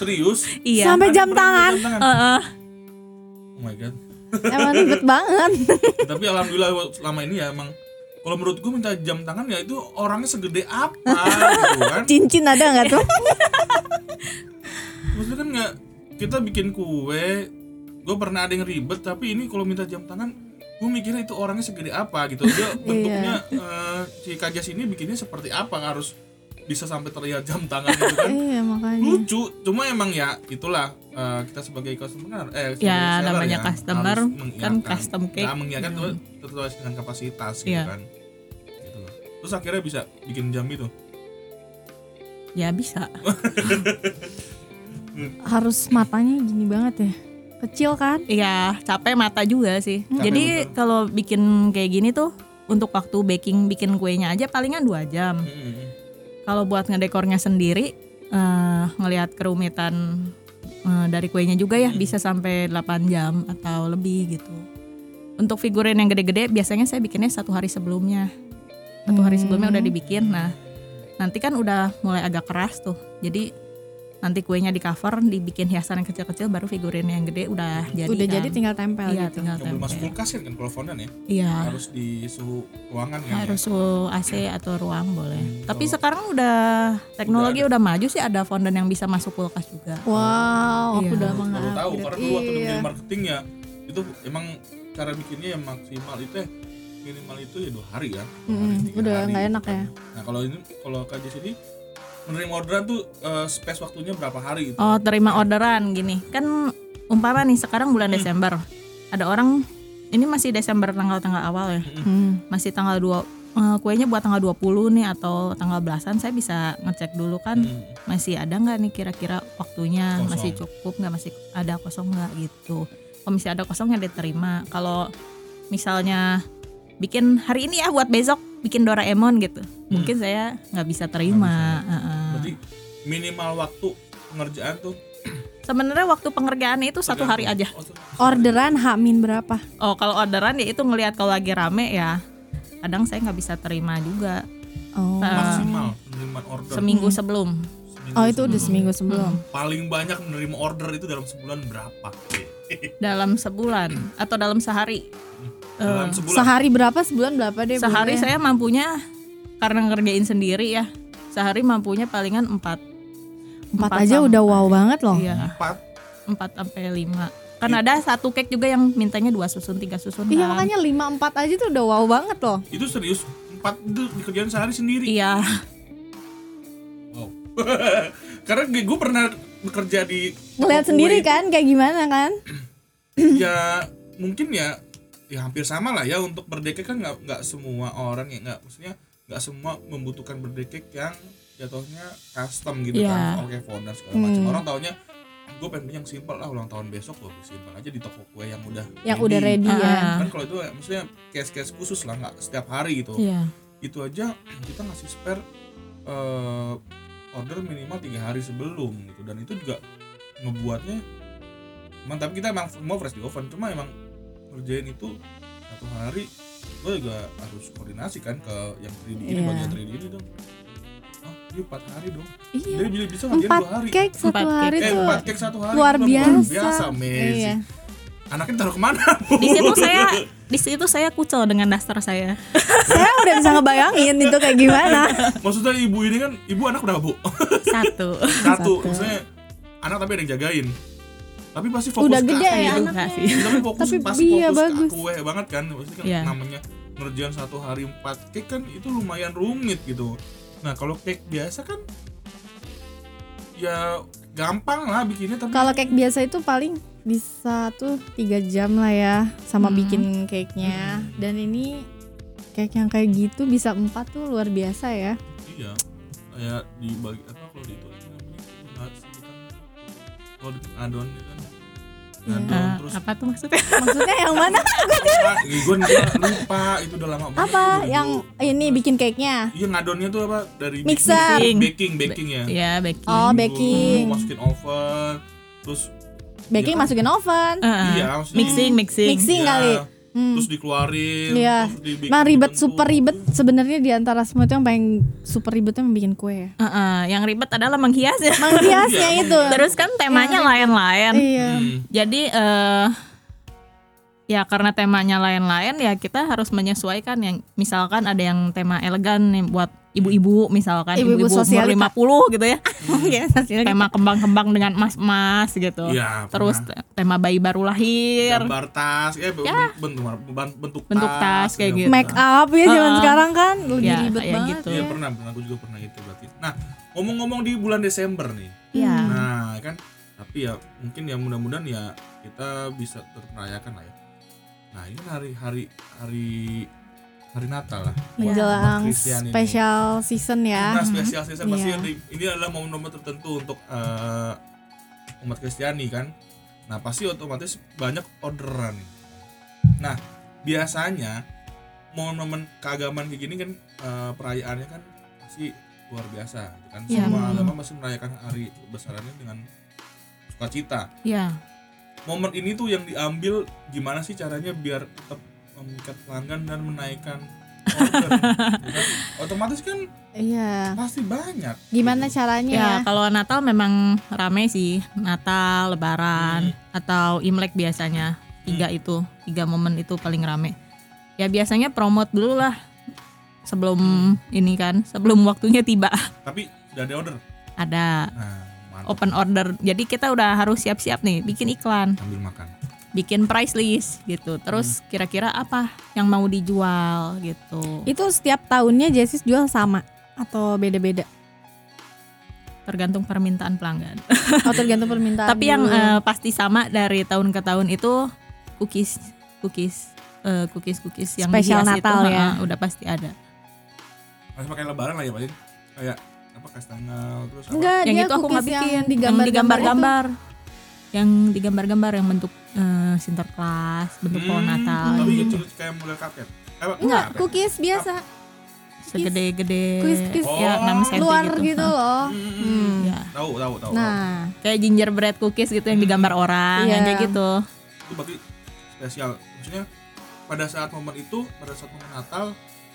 Speaker 4: serius
Speaker 3: iya
Speaker 2: Sampai jam
Speaker 4: Pernah
Speaker 2: tangan. Ah.
Speaker 4: jam tangan?
Speaker 3: Heeh.
Speaker 4: oh my god Ya,
Speaker 2: Emang ribet banget.
Speaker 4: tapi alhamdulillah selama ini ya emang kalau menurut gue minta jam tangan ya itu orangnya segede apa gitu kan
Speaker 2: Cincin ada nggak tuh?
Speaker 4: maksudnya kan nggak kita bikin kue gue pernah ada yang ribet tapi ini kalau minta jam tangan gue mikirnya itu orangnya segede apa gitu
Speaker 2: Iya.
Speaker 4: dia bentuknya eh, si kajas ini bikinnya seperti apa harus bisa sampai terlihat jam tangan gitu kan
Speaker 2: iya
Speaker 3: Hmm.
Speaker 2: makanya.
Speaker 4: lucu cuma emang ya itulah eh, kita sebagai customer eh sebagai
Speaker 3: Ya,
Speaker 4: seller
Speaker 3: namanya customer,
Speaker 4: harus
Speaker 3: kan
Speaker 4: mengiakan.
Speaker 3: custom cake. Hmm.
Speaker 4: Nah, mengiakan tuh sesuai dengan kapasitas gitu
Speaker 3: Iya.
Speaker 4: kan gitu loh. terus akhirnya bisa bikin jam itu
Speaker 3: ya bisa
Speaker 2: Harus matanya gini banget ya. Kecil kan?
Speaker 3: Iya, capek mata juga sih.
Speaker 4: Capek
Speaker 3: Jadi
Speaker 4: betul.
Speaker 3: kalau bikin kayak gini tuh untuk waktu baking bikin kuenya aja palingan dua jam. Hmm. Kalau buat ngedekornya sendiri eh ngelihat kerumitan eh, dari kuenya juga ya bisa sampai 8 jam atau lebih gitu. Untuk figurin yang gede-gede biasanya saya bikinnya satu hari sebelumnya. Satu hari sebelumnya udah dibikin. Nah, nanti kan udah mulai agak keras tuh. Jadi nanti kuenya di cover, dibikin hiasan yang kecil-kecil baru figurin yang gede udah jadi.
Speaker 2: Udah jadi
Speaker 3: kan.
Speaker 2: tinggal tempel
Speaker 3: Iya,
Speaker 2: gitu.
Speaker 3: tinggal
Speaker 4: nggak boleh
Speaker 3: tempel.
Speaker 4: masuk kulkas kan kalau fondan ya
Speaker 3: Iya,
Speaker 4: harus di suhu ruangan kan
Speaker 3: harus suhu AC atau ruang boleh. Tapi sekarang udah teknologi udah, maju sih ada fondant yang bisa masuk kulkas juga.
Speaker 2: Wow, aku udah
Speaker 3: Iya.
Speaker 4: ya? baru
Speaker 2: mengupgrade.
Speaker 4: tahu karena dulu waktu di
Speaker 2: Iya.
Speaker 4: marketing ya itu emang cara bikinnya yang maksimal itu ya minimal itu ya dua hari kan Dua
Speaker 3: Hmm,
Speaker 4: hari,
Speaker 2: Mm-mm,
Speaker 4: tiga
Speaker 2: udah
Speaker 4: hari
Speaker 2: nggak
Speaker 4: gitu
Speaker 2: enak
Speaker 4: kan.
Speaker 2: ya.
Speaker 4: Nah kalau ini kalau kaji sini menerima orderan tuh eh, space waktunya berapa hari gitu. itu?
Speaker 3: Oh, terima orderan gini. Kan umpama nih sekarang bulan Desember. Ada orang ini masih Desember tanggal-tanggal awal ya.
Speaker 2: Hmm.
Speaker 3: Masih tanggal 2 eh, kuenya buat tanggal 20 nih atau tanggal belasan saya bisa ngecek dulu kan
Speaker 4: Hmm.
Speaker 3: masih ada nggak nih kira-kira waktunya
Speaker 4: Kosong.
Speaker 3: masih cukup nggak masih ada kosong nggak gitu kalau misalnya ada kosong ya diterima kalau misalnya bikin hari ini ya buat besok bikin Doraemon gitu mungkin saya nggak bisa terima Heeh.
Speaker 4: Berarti minimal waktu pengerjaan tuh
Speaker 3: sebenarnya waktu pengerjaannya itu satu hari aja
Speaker 4: oh, tuh,
Speaker 2: Orderan Hamin berapa?
Speaker 3: oh kalau orderan ya itu ngelihat kalau lagi rame ya kadang saya nggak bisa terima juga
Speaker 2: Oh.
Speaker 3: Ah.
Speaker 4: maksimal penerimaan order.
Speaker 3: seminggu sebelum
Speaker 4: Seminggu
Speaker 2: Oh itu udah
Speaker 4: sebelum.
Speaker 2: seminggu sebelum.
Speaker 4: paling banyak menerima order itu dalam sebulan berapa?
Speaker 2: Eh,
Speaker 3: dalam sebulan atau dalam sehari
Speaker 4: dalam sebulan.
Speaker 2: Sehari berapa? Sebulan berapa deh?
Speaker 3: sehari
Speaker 2: bulannya?
Speaker 3: saya mampunya karena ngerjain sendiri ya sehari mampunya palingan empat
Speaker 2: empat aja udah wow banget loh.
Speaker 3: iya
Speaker 4: Empat.
Speaker 3: empat sampai lima Karena ada satu cake juga yang mintanya dua susun, tiga susun.
Speaker 2: Iya
Speaker 3: kan.
Speaker 2: makanya 5 4 aja tuh udah wow banget loh.
Speaker 4: Itu serius empat itu di kerjaan sehari sendiri.
Speaker 3: Iya.
Speaker 4: Wow. Karena gue pernah bekerja di
Speaker 2: Ngeliat
Speaker 3: Oh,
Speaker 4: toko kue
Speaker 2: sendiri
Speaker 4: itu.
Speaker 2: kan kayak gimana kan?
Speaker 4: ya mungkin ya ya hampir sama lah ya untuk berdekek kan nggak nggak semua orang ya nggak maksudnya nggak semua membutuhkan berdekek yang jatuhnya custom gitu
Speaker 3: Iya.
Speaker 4: kan oke founder segala macam
Speaker 2: Hmm.
Speaker 4: orang taunya gue pengen beli yang simple lah ulang tahun besok gue simple aja di toko kue yang udah
Speaker 2: Yang udah ready ya.
Speaker 3: Ah.
Speaker 4: kan kalau itu ya, maksudnya case-case khusus lah nggak setiap hari gitu
Speaker 3: Iya.
Speaker 4: itu aja kita ngasih spare eh, order minimal tiga hari sebelum gitu dan itu juga ngebuatnya emang tapi kita emang semua fresh di oven cuma emang ngerjain itu satu hari gue juga harus koordinasi kan ke yang 3D ini
Speaker 2: Iya.
Speaker 4: bagian 3D ini dong ah dia empat hari dong
Speaker 2: Iya.
Speaker 4: dia bisa bisa ngerjain
Speaker 2: Empat
Speaker 4: dua hari
Speaker 2: cake satu
Speaker 3: Empat cake.
Speaker 2: hari
Speaker 4: eh
Speaker 2: tuh.
Speaker 4: empat cake satu hari
Speaker 2: Luar
Speaker 4: Itu
Speaker 2: biasa.
Speaker 4: luar biasa amazing
Speaker 2: Iya.
Speaker 4: anaknya taruh kemana
Speaker 3: Di situ saya di situ saya kucel dengan daster saya.
Speaker 2: Saya udah bisa ngebayangin itu kayak gimana.
Speaker 4: maksudnya ibu ini kan ibu anak udah bu
Speaker 3: Satu.
Speaker 4: satu maksudnya anak tapi ada yang jagain tapi pasti fokus
Speaker 2: Udah
Speaker 4: ke
Speaker 2: gede
Speaker 4: aku
Speaker 2: ya
Speaker 4: gitu.
Speaker 3: Enggak sih.
Speaker 4: tapi fokus
Speaker 2: Tapi
Speaker 4: pasti
Speaker 2: iya,
Speaker 4: fokus
Speaker 2: bagus.
Speaker 4: ke kue banget kan pasti kan
Speaker 3: Iya.
Speaker 4: namanya ngerjain satu hari empat cake kan itu lumayan rumit gitu nah kalau cake biasa kan ya gampang lah bikinnya tapi
Speaker 2: Kalau cake biasa itu paling bisa tuh tiga jam lah ya sama bikin cake-nya. Dan ini cake yang kayak gitu bisa empat tuh luar biasa ya.
Speaker 4: iya kayak dibagi apa kalau di kan, itu apa namanya nggak sebutan gitu kan. kalau di adon itu kan adon
Speaker 2: Iya.
Speaker 3: Eh,
Speaker 4: terus
Speaker 3: apa tuh maksudnya?
Speaker 2: Maksudnya yang mana?
Speaker 4: gue lupa itu udah lama banget
Speaker 2: Apa
Speaker 4: Gua
Speaker 2: yang ini bikin cake-nya?
Speaker 4: Iya ngadonnya tuh apa dari
Speaker 2: Mixer.
Speaker 4: baking baking, baking ya.
Speaker 3: Iya, baking.
Speaker 2: Oh,
Speaker 4: Dulu
Speaker 2: baking.
Speaker 4: masukin oven, terus
Speaker 2: Baking
Speaker 4: Iya.
Speaker 2: masukin oven.
Speaker 3: Eh, eh.
Speaker 4: iya maksudnya
Speaker 3: Mixing, mixing.
Speaker 2: Mixing. kali. Hmm.
Speaker 4: ya, Terus dikeluarin.
Speaker 2: Iya.
Speaker 4: terus dibikin
Speaker 2: Nah ribet
Speaker 4: bentuk.
Speaker 2: super ribet sebenarnya di antara semua itu yang paling super ribetnya membuat kue ya.
Speaker 3: Eh, eh, yang ribet adalah menghiasnya.
Speaker 2: Menghiasnya
Speaker 4: Iya.
Speaker 2: itu.
Speaker 3: Terus kan temanya lain-lain.
Speaker 2: Iya.
Speaker 4: Hmm.
Speaker 3: Jadi eh ya karena temanya lain-lain ya kita harus menyesuaikan yang misalkan ada yang tema elegan nih buat ibu-ibu misalkan
Speaker 2: Ibu-ibu
Speaker 3: ibu-ibu umur
Speaker 2: sosialita.
Speaker 3: 50 gitu ya.
Speaker 2: Iya, hasilnya
Speaker 3: tema kembang-kembang dengan emas-emas gitu.
Speaker 4: Iya,
Speaker 3: Terus te- tema bayi baru lahir.
Speaker 4: Gambar tas, ya, be- bentuk bentuk
Speaker 3: Bentuk tas kayak
Speaker 4: ya,
Speaker 3: gitu.
Speaker 2: make up ya zaman
Speaker 3: Ah.
Speaker 2: sekarang kan lebih
Speaker 3: Ya,
Speaker 2: ribet
Speaker 3: ya
Speaker 2: banget.
Speaker 3: gitu.
Speaker 4: Iya pernah, pernah aku juga pernah itu berarti. Nah, ngomong-ngomong di bulan Desember nih.
Speaker 3: Iya.
Speaker 4: Nah, kan tapi ya mungkin ya mudah-mudahan ya kita bisa tetap merayakan lah ya. Nah, ini kan hari hari hari hari Natal lah.
Speaker 2: Menjelang
Speaker 4: Umat Kristen ini.
Speaker 2: special season ya.
Speaker 4: Nah, spesial season pasti
Speaker 2: Iya.
Speaker 4: ada- ini adalah momen-momen tertentu untuk eh, umat Kristiani kan. Nah, pasti otomatis banyak orderan. Nah, biasanya momen-momen keagamaan kayak gini kan eh, perayaannya kan pasti luar biasa gitu kan.
Speaker 3: Iya.
Speaker 4: Semua agama pasti merayakan hari besarannya dengan sukacita.
Speaker 3: Iya.
Speaker 4: Momen ini tuh yang diambil gimana sih caranya biar tetap memikat pelanggan dan menaikkan order. gitu kan. Otomatis kan
Speaker 2: Iya.
Speaker 4: pasti banyak Gitu.
Speaker 2: Gimana caranya
Speaker 3: Ya,
Speaker 2: ya?
Speaker 3: kalau Natal memang rame sih. Natal, Lebaran, atau Imlek biasanya. Tiga itu, tiga momen itu paling rame. Ya biasanya promote dulu lah sebelum ini kan, sebelum waktunya tiba.
Speaker 4: tapi udah ada order
Speaker 3: Ada
Speaker 4: nah
Speaker 2: Oh,
Speaker 4: mantap
Speaker 3: open order. Jadi kita udah harus siap-siap nih bikin iklan.
Speaker 4: sambil makan
Speaker 3: bikin price list gitu. Terus kira-kira apa yang mau dijual gitu.
Speaker 2: Itu setiap tahunnya Jessis jual sama atau beda-beda?
Speaker 3: Tergantung permintaan pelanggan.
Speaker 2: Oh tergantung permintaan.
Speaker 3: Tapi yang
Speaker 2: dulu.
Speaker 3: eh, pasti sama dari tahun ke tahun itu cookies, cookies, eh, cookies, cookies yang
Speaker 2: Spesial
Speaker 3: dihias
Speaker 2: Natal
Speaker 3: itu,
Speaker 2: ya.
Speaker 3: ha, udah pasti ada.
Speaker 4: masih pakai lebaran lah ya pak Jin? kayak apa kasih tanggal terus apa?
Speaker 2: enggak
Speaker 3: yang
Speaker 2: dia
Speaker 3: itu aku nggak
Speaker 2: ya cookies
Speaker 3: bikin, yang
Speaker 2: digambar-gambar
Speaker 3: digambar-gambar, yang digambar-gambar yang bentuk eh, sinterklas, bentuk pohon
Speaker 4: Hmm,
Speaker 3: Natal,
Speaker 4: tapi
Speaker 3: gitu.
Speaker 4: itu kayak model cupcake eh, apa,
Speaker 2: itu. Enggak,
Speaker 4: apa?
Speaker 2: cookies biasa.
Speaker 3: Iya. segede-gede,
Speaker 2: Cookies.
Speaker 3: ya 6
Speaker 4: Oh.
Speaker 3: cm
Speaker 2: Luar
Speaker 3: gitu.
Speaker 2: gitu, loh.
Speaker 4: Hmm,
Speaker 3: Ya.
Speaker 4: tahu tahu tahu
Speaker 2: Nah,
Speaker 3: Kayak gingerbread cookies gitu yang digambar orang, yang
Speaker 2: Iya.
Speaker 3: kayak gitu.
Speaker 4: tahu. itu berarti spesial maksudnya pada saat momen itu pada saat momen Natal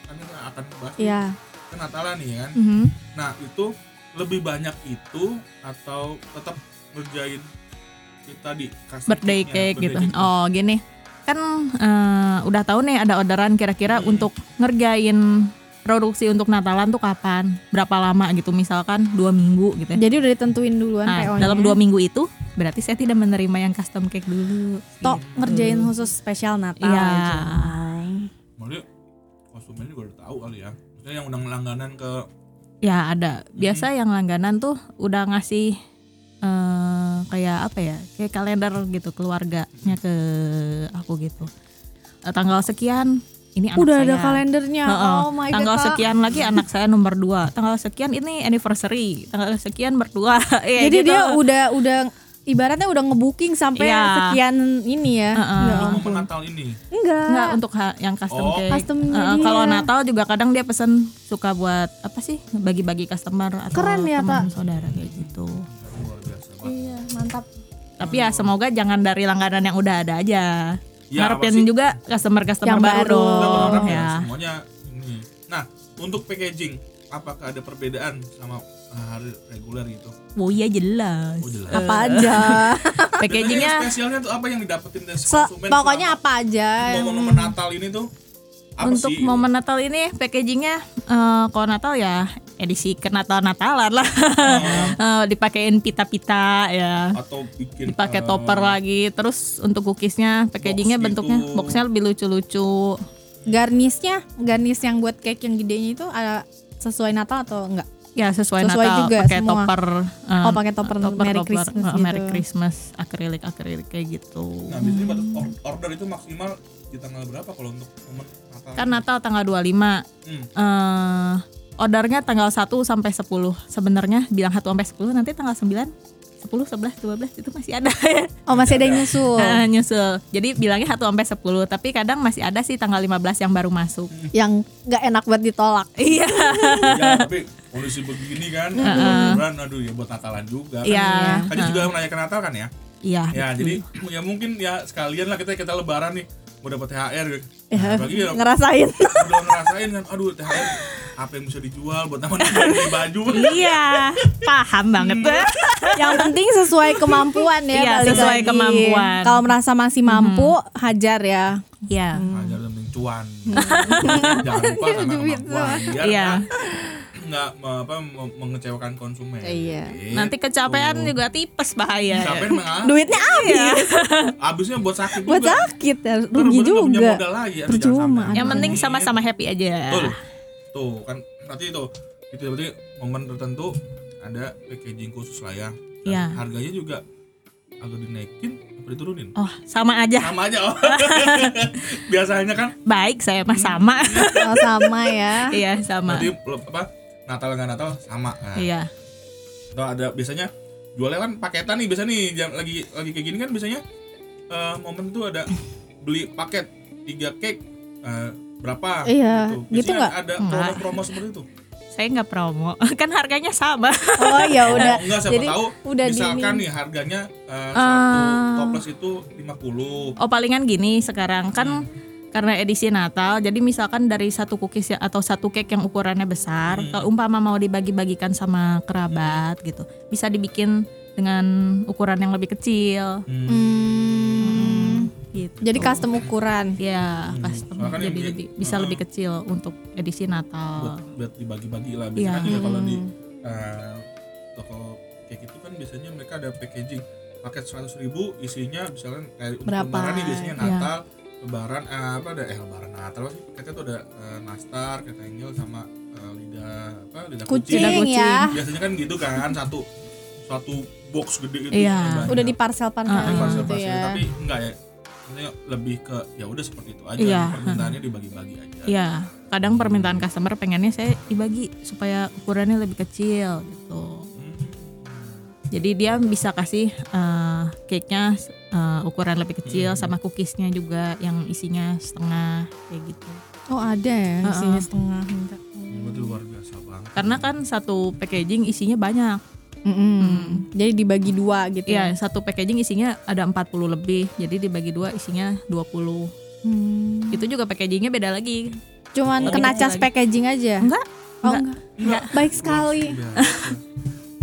Speaker 4: kami akan bahas
Speaker 2: iya.
Speaker 4: kan Natalan nih kan
Speaker 3: Mhm.
Speaker 2: Mm-hmm.
Speaker 4: nah itu lebih banyak itu atau tetap ngerjain kita di custom
Speaker 3: birthday
Speaker 4: cake-nya,
Speaker 3: cake
Speaker 4: birthday
Speaker 3: gitu.
Speaker 4: cake-nya?
Speaker 3: Oh, gini. Kan eh, udah tahu nih ada orderan kira-kira untuk ngerjain produksi untuk Natalan tuh kapan? Berapa lama gitu misalkan dua minggu gitu ya.
Speaker 2: Jadi udah ditentuin duluan
Speaker 3: Nah,
Speaker 2: PO-nya.
Speaker 3: dalam dua minggu itu Berarti saya tidak menerima yang custom cake dulu.
Speaker 2: Tok
Speaker 3: Gitu.
Speaker 2: ngerjain khusus spesial Natal
Speaker 3: Iya.
Speaker 2: aja.
Speaker 4: Maksudnya konsumen juga udah tahu kali ya. Maksudnya yang udah langganan ke
Speaker 3: Ya ada. Biasa yang langganan tuh udah ngasih eh, kayak apa ya? Kayak kalender gitu keluarganya ke aku gitu. Eh, tanggal sekian ini anak
Speaker 2: Udah
Speaker 3: saya.
Speaker 2: ada kalendernya.
Speaker 3: Heeh.
Speaker 2: Oh my
Speaker 3: tanggal
Speaker 2: god. Kak.
Speaker 3: sekian lagi anak saya nomor dua tanggal sekian ini anniversary tanggal sekian berdua Ya,
Speaker 2: Jadi
Speaker 3: gitu.
Speaker 2: dia udah udah ibaratnya udah ngebooking sampai
Speaker 3: Iya.
Speaker 2: sekian ini ya.
Speaker 3: Heeh.
Speaker 2: Ya
Speaker 4: momen
Speaker 2: ampun.
Speaker 4: Natal ini.
Speaker 2: Enggak.
Speaker 3: nggak untuk ha- yang custom
Speaker 4: Oh.
Speaker 3: cake
Speaker 2: Customnya
Speaker 3: Heeh,
Speaker 2: dia.
Speaker 3: kalau Natal juga kadang dia pesen suka buat apa sih bagi-bagi customer atau
Speaker 2: Keren ya, Kak.
Speaker 3: teman saudara kayak gitu
Speaker 4: Luar biasa banget.
Speaker 2: Iya, mantap.
Speaker 3: tapi ya semoga jangan dari langganan yang udah ada aja
Speaker 4: Ya,
Speaker 3: Ngarepin
Speaker 4: pasti.
Speaker 3: juga customer customer
Speaker 2: Yang
Speaker 3: baru,
Speaker 2: baru.
Speaker 4: Kita
Speaker 3: dong,
Speaker 4: berharap ya
Speaker 3: ya
Speaker 4: semuanya ini. Nah, untuk packaging apakah ada perbedaan sama eh, hari reguler gitu?
Speaker 3: oh iya jelas,
Speaker 4: Oh, jelas.
Speaker 3: Eh.
Speaker 2: Apa aja.
Speaker 4: Bedanya
Speaker 3: packagingnya
Speaker 4: spesialnya tuh apa yang didapetin dari
Speaker 2: Se-
Speaker 4: konsumen?
Speaker 2: pokoknya apa aja.
Speaker 4: momen-momen Natal ini tuh apa
Speaker 3: eh, untuk
Speaker 4: sih?
Speaker 3: momen Natal ini packagingnya eh, kalau Natal ya edisi ke Natal Natalan lah
Speaker 4: Ah.
Speaker 3: Eh, dipakein pita-pita ya
Speaker 4: atau bikin
Speaker 3: dipakai
Speaker 4: eh,
Speaker 3: topper lagi terus untuk cookiesnya packagingnya
Speaker 4: box
Speaker 3: bentuknya
Speaker 4: gitu.
Speaker 3: boxnya lebih lucu-lucu
Speaker 2: Garnisnya, garnis yang buat cake yang gedenya itu ada sesuai Natal atau enggak?
Speaker 3: ya sesuai,
Speaker 2: Sesuai
Speaker 3: Natal
Speaker 2: juga
Speaker 3: pakai
Speaker 2: semua.
Speaker 3: topper eh,
Speaker 2: Oh, pakai topper Merry Christmas
Speaker 3: eh, Merry
Speaker 2: gitu.
Speaker 3: Christmas akrilik akrilik kayak gitu
Speaker 4: Nah, biasanya batas or- order itu maksimal di tanggal berapa kalau untuk momen Natal?
Speaker 3: kan Natal tanggal 25
Speaker 4: Hmm.
Speaker 3: eh ordernya tanggal 1 sampai 10 sebenarnya bilang 1 sampai 10 nanti tanggal 9 10 11 12 itu masih ada ya
Speaker 2: Oh, masih ada yang nyusul.
Speaker 3: Eh, nyusul jadi bilangnya 1 sampai 10 tapi kadang masih ada sih tanggal 15 yang baru masuk
Speaker 2: yang nggak enak buat ditolak.
Speaker 3: iya
Speaker 4: ya, tapi kondisi begini kan, liburan, aduh ya buat Natalan juga. kan.
Speaker 3: Iya.
Speaker 4: Tadi juga menanyakan Natal kan ya?
Speaker 3: iya
Speaker 4: Ya,
Speaker 3: betul.
Speaker 4: jadi ya mungkin ya sekalian lah kita kita Lebaran nih mau dapat
Speaker 3: Iya.
Speaker 4: THR gitu.
Speaker 2: Ya,
Speaker 4: Nah, bagi yang
Speaker 2: ngerasain.
Speaker 4: udah ngerasain kan, aduh THR apa yang bisa dijual buat teman beli baju.
Speaker 3: Iya, paham banget.
Speaker 2: yang penting sesuai kemampuan ya.
Speaker 3: Iya,
Speaker 2: balik
Speaker 3: sesuai
Speaker 2: lagi.
Speaker 3: kemampuan. Mhm.
Speaker 2: Kalau merasa masih mampu, hajar ya.
Speaker 3: Iya.
Speaker 4: Ajar dan Nah, cuan. Jangan lupa sama kemampuan.
Speaker 3: Hmm.
Speaker 4: Biar
Speaker 3: Iya.
Speaker 4: nggak- nggak me- apa me- mengecewakan konsumen.
Speaker 2: Iya.
Speaker 4: Gitu.
Speaker 3: Nanti kecapean juga tipes bahaya.
Speaker 4: Sampai mengalah.
Speaker 2: Duitnya
Speaker 3: Iya.
Speaker 2: habis
Speaker 4: Abisnya buat sakit
Speaker 2: buat
Speaker 4: juga.
Speaker 2: sakit ya,
Speaker 4: Ntar
Speaker 2: rugi
Speaker 4: baru nggak punya
Speaker 2: juga.
Speaker 4: modal lagi. Aduh,
Speaker 2: Percuma. Iya.
Speaker 4: jangan sampai.
Speaker 3: Yang penting sama-sama ya. happy aja.
Speaker 4: Iya. Betul. Tuh kan nanti itu itu berarti momen tertentu ada packaging khusus lah ya. Dan
Speaker 3: Iya.
Speaker 4: Harganya juga agak dinaikin atau diturunin.
Speaker 3: Oh, sama aja.
Speaker 4: Sama aja. Oh. Biasanya kan
Speaker 3: Baik saya mah sama.
Speaker 2: Sama, sama ya.
Speaker 3: Iya, sama.
Speaker 4: nanti belum- apa Natal nggak Natal sama. Nah,
Speaker 3: Iya.
Speaker 4: atau ada biasanya jualnya kan paketan nih biasa nih jam lagi lagi kayak gini kan biasanya eh, momen tuh ada beli paket tiga cake eh, berapa
Speaker 2: Iya,
Speaker 4: Biasanya
Speaker 2: gitu nggak?
Speaker 4: ada
Speaker 3: Nggak.
Speaker 4: promo-promo seperti itu
Speaker 3: Saya nggak promo. Kan harganya sama.
Speaker 2: Oh ya udah.
Speaker 4: enggak siapa
Speaker 2: Jadi
Speaker 4: tahu
Speaker 2: udah
Speaker 4: misalkan
Speaker 2: dini.
Speaker 4: nih harganya eh,
Speaker 3: Ah.
Speaker 4: satu toples itu 50
Speaker 3: Oh, palingan gini sekarang kan
Speaker 4: Hmm.
Speaker 3: karena edisi Natal, jadi misalkan dari satu cookies ya- atau satu cake yang ukurannya besar,
Speaker 4: Hmm.
Speaker 3: kalau umpama mau dibagi-bagikan sama kerabat gitu, bisa dibikin dengan ukuran yang lebih kecil.
Speaker 4: Hmm.
Speaker 2: Hmm,
Speaker 3: gitu.
Speaker 2: jadi custom ukuran.
Speaker 3: ya
Speaker 4: Hmm,
Speaker 3: custom
Speaker 4: soalnya kan
Speaker 3: jadi
Speaker 4: yang
Speaker 3: lebih-
Speaker 4: dia-
Speaker 3: bisa
Speaker 4: ah.
Speaker 3: lebih kecil untuk edisi
Speaker 4: buat,
Speaker 3: Natal.
Speaker 4: buat dibagi-bagi lah biasanya
Speaker 3: Iya.
Speaker 4: kan juga kalau di eh, toko kayak gitu kan biasanya mereka ada packaging paket 100.000 ribu isinya misalnya kayak untuk
Speaker 2: Berapa?
Speaker 4: lebaran nih biasanya
Speaker 3: Iya.
Speaker 4: Natal lebaran eh, apa ada eh lebaran Natal apa sih paketnya tuh ada eh, nastar kata Angel sama eh, lidah apa lidah kucing.
Speaker 2: Kucing,
Speaker 3: kucing.
Speaker 2: ya.
Speaker 4: biasanya kan gitu kan satu satu box gede gitu
Speaker 3: Iya.
Speaker 4: banyak.
Speaker 2: Udah di parcel-parcel
Speaker 4: Yang parcel
Speaker 2: gitu ya.
Speaker 4: Ah, tapi enggak ya Maksudnya lebih ke ya udah seperti itu aja
Speaker 3: Iya.
Speaker 4: permintaannya dibagi-bagi aja
Speaker 3: Ya, kadang permintaan customer pengennya saya dibagi supaya ukurannya lebih kecil gitu. Jadi dia bisa kasih eh, cake-nya eh, ukuran lebih kecil sama cookiesnya juga yang isinya setengah kayak gitu.
Speaker 2: Oh ada ya isinya setengah minta.
Speaker 4: Hmm, itu luar biasa banget
Speaker 3: Karena kan satu packaging isinya banyak.
Speaker 2: Mm-mm. Jadi dibagi dua gitu.
Speaker 3: Iya,
Speaker 2: ya.
Speaker 3: satu packaging isinya ada 40 lebih. Jadi dibagi dua isinya 20.
Speaker 2: Hmm.
Speaker 3: Itu juga packagingnya beda lagi.
Speaker 2: Cuman
Speaker 3: Lebih
Speaker 2: kena
Speaker 3: kecil
Speaker 2: cas
Speaker 3: lagi.
Speaker 2: packaging aja.
Speaker 3: Enggak?
Speaker 2: Oh enggak. Baik sekali.
Speaker 4: Luar biasa. Iya,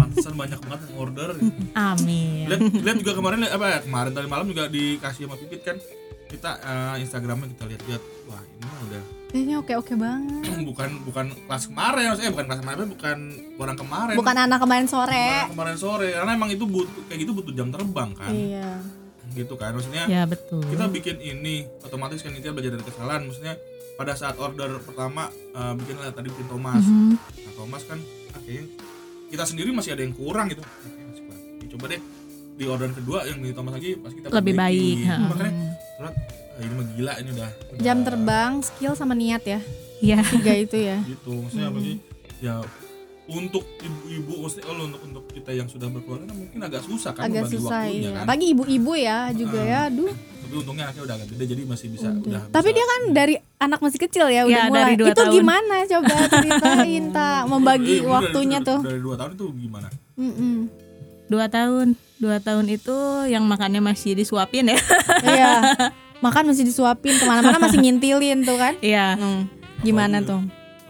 Speaker 4: Pantesan banyak banget yang order.
Speaker 3: Amin.
Speaker 4: Lihat, lihat juga kemarin lihat apa ya? Kemarin tadi malam juga dikasih sama Pipit kan kita eh, Instagramnya kita lihat-lihat wah ini mah udah
Speaker 2: Kayaknya oke-oke banget.
Speaker 4: bukan bukan kelas kemarin maksudnya eh, bukan kelas kemarin tapi bukan orang kemarin
Speaker 2: Bukan ya. anak kemarin
Speaker 4: Bukan
Speaker 2: sore.
Speaker 4: kemarin sore karena emang itu butuh kayak gitu butuh jam terbang kan
Speaker 2: Iya.
Speaker 4: gitu kan maksudnya
Speaker 3: ya betul
Speaker 4: kita bikin ini otomatis kan kita belajar dari kesalahan maksudnya pada saat order pertama eh, bikin lah tadi bikin Thomas
Speaker 3: Mhm.
Speaker 4: nah Thomas kan akhirnya kita sendiri masih ada yang kurang gitu Oke, masih kurang. Ya, coba deh di orderan kedua yang di Thomas lagi pas kita
Speaker 3: lebih baik
Speaker 4: perbaiki.
Speaker 3: heeh.
Speaker 4: makanya surat "Ah, ini mah gila ini udah
Speaker 2: Jam
Speaker 4: udah
Speaker 2: terbang, skill sama niat ya.
Speaker 3: Iya.
Speaker 2: Tiga itu ya.
Speaker 4: gitu maksudnya apa sih ya untuk ibu-ibu maksudnya oh, untuk untuk kita yang sudah berkeluarga mungkin agak susah kan
Speaker 2: Agak
Speaker 4: membagi
Speaker 2: susah
Speaker 4: waktunya
Speaker 2: iya.
Speaker 4: kan
Speaker 2: Bagi ibu-ibu ya juga
Speaker 4: Heeh.
Speaker 2: ya. Aduh.
Speaker 4: tapi untungnya anaknya udah agak gede jadi masih bisa
Speaker 2: Untung.
Speaker 4: udah
Speaker 2: Tapi
Speaker 4: bisa.
Speaker 2: dia kan dari anak masih kecil ya udah
Speaker 3: Ya,
Speaker 2: mulai.
Speaker 3: dari dua
Speaker 2: itu
Speaker 3: tahun.
Speaker 2: gimana coba ceritain tak membagi
Speaker 4: Iya, bener,
Speaker 2: waktunya
Speaker 4: itu
Speaker 2: tuh.
Speaker 4: dari, dari dua tahun itu gimana
Speaker 2: Mm-mm.
Speaker 3: dua tahun dua tahun itu yang makannya masih disuapin ya
Speaker 2: Iya. Makan masih disuapin kemana-mana masih ngintilin tuh kan.
Speaker 3: iya
Speaker 2: Hmm. Gimana
Speaker 4: Apalagi-
Speaker 2: tuh?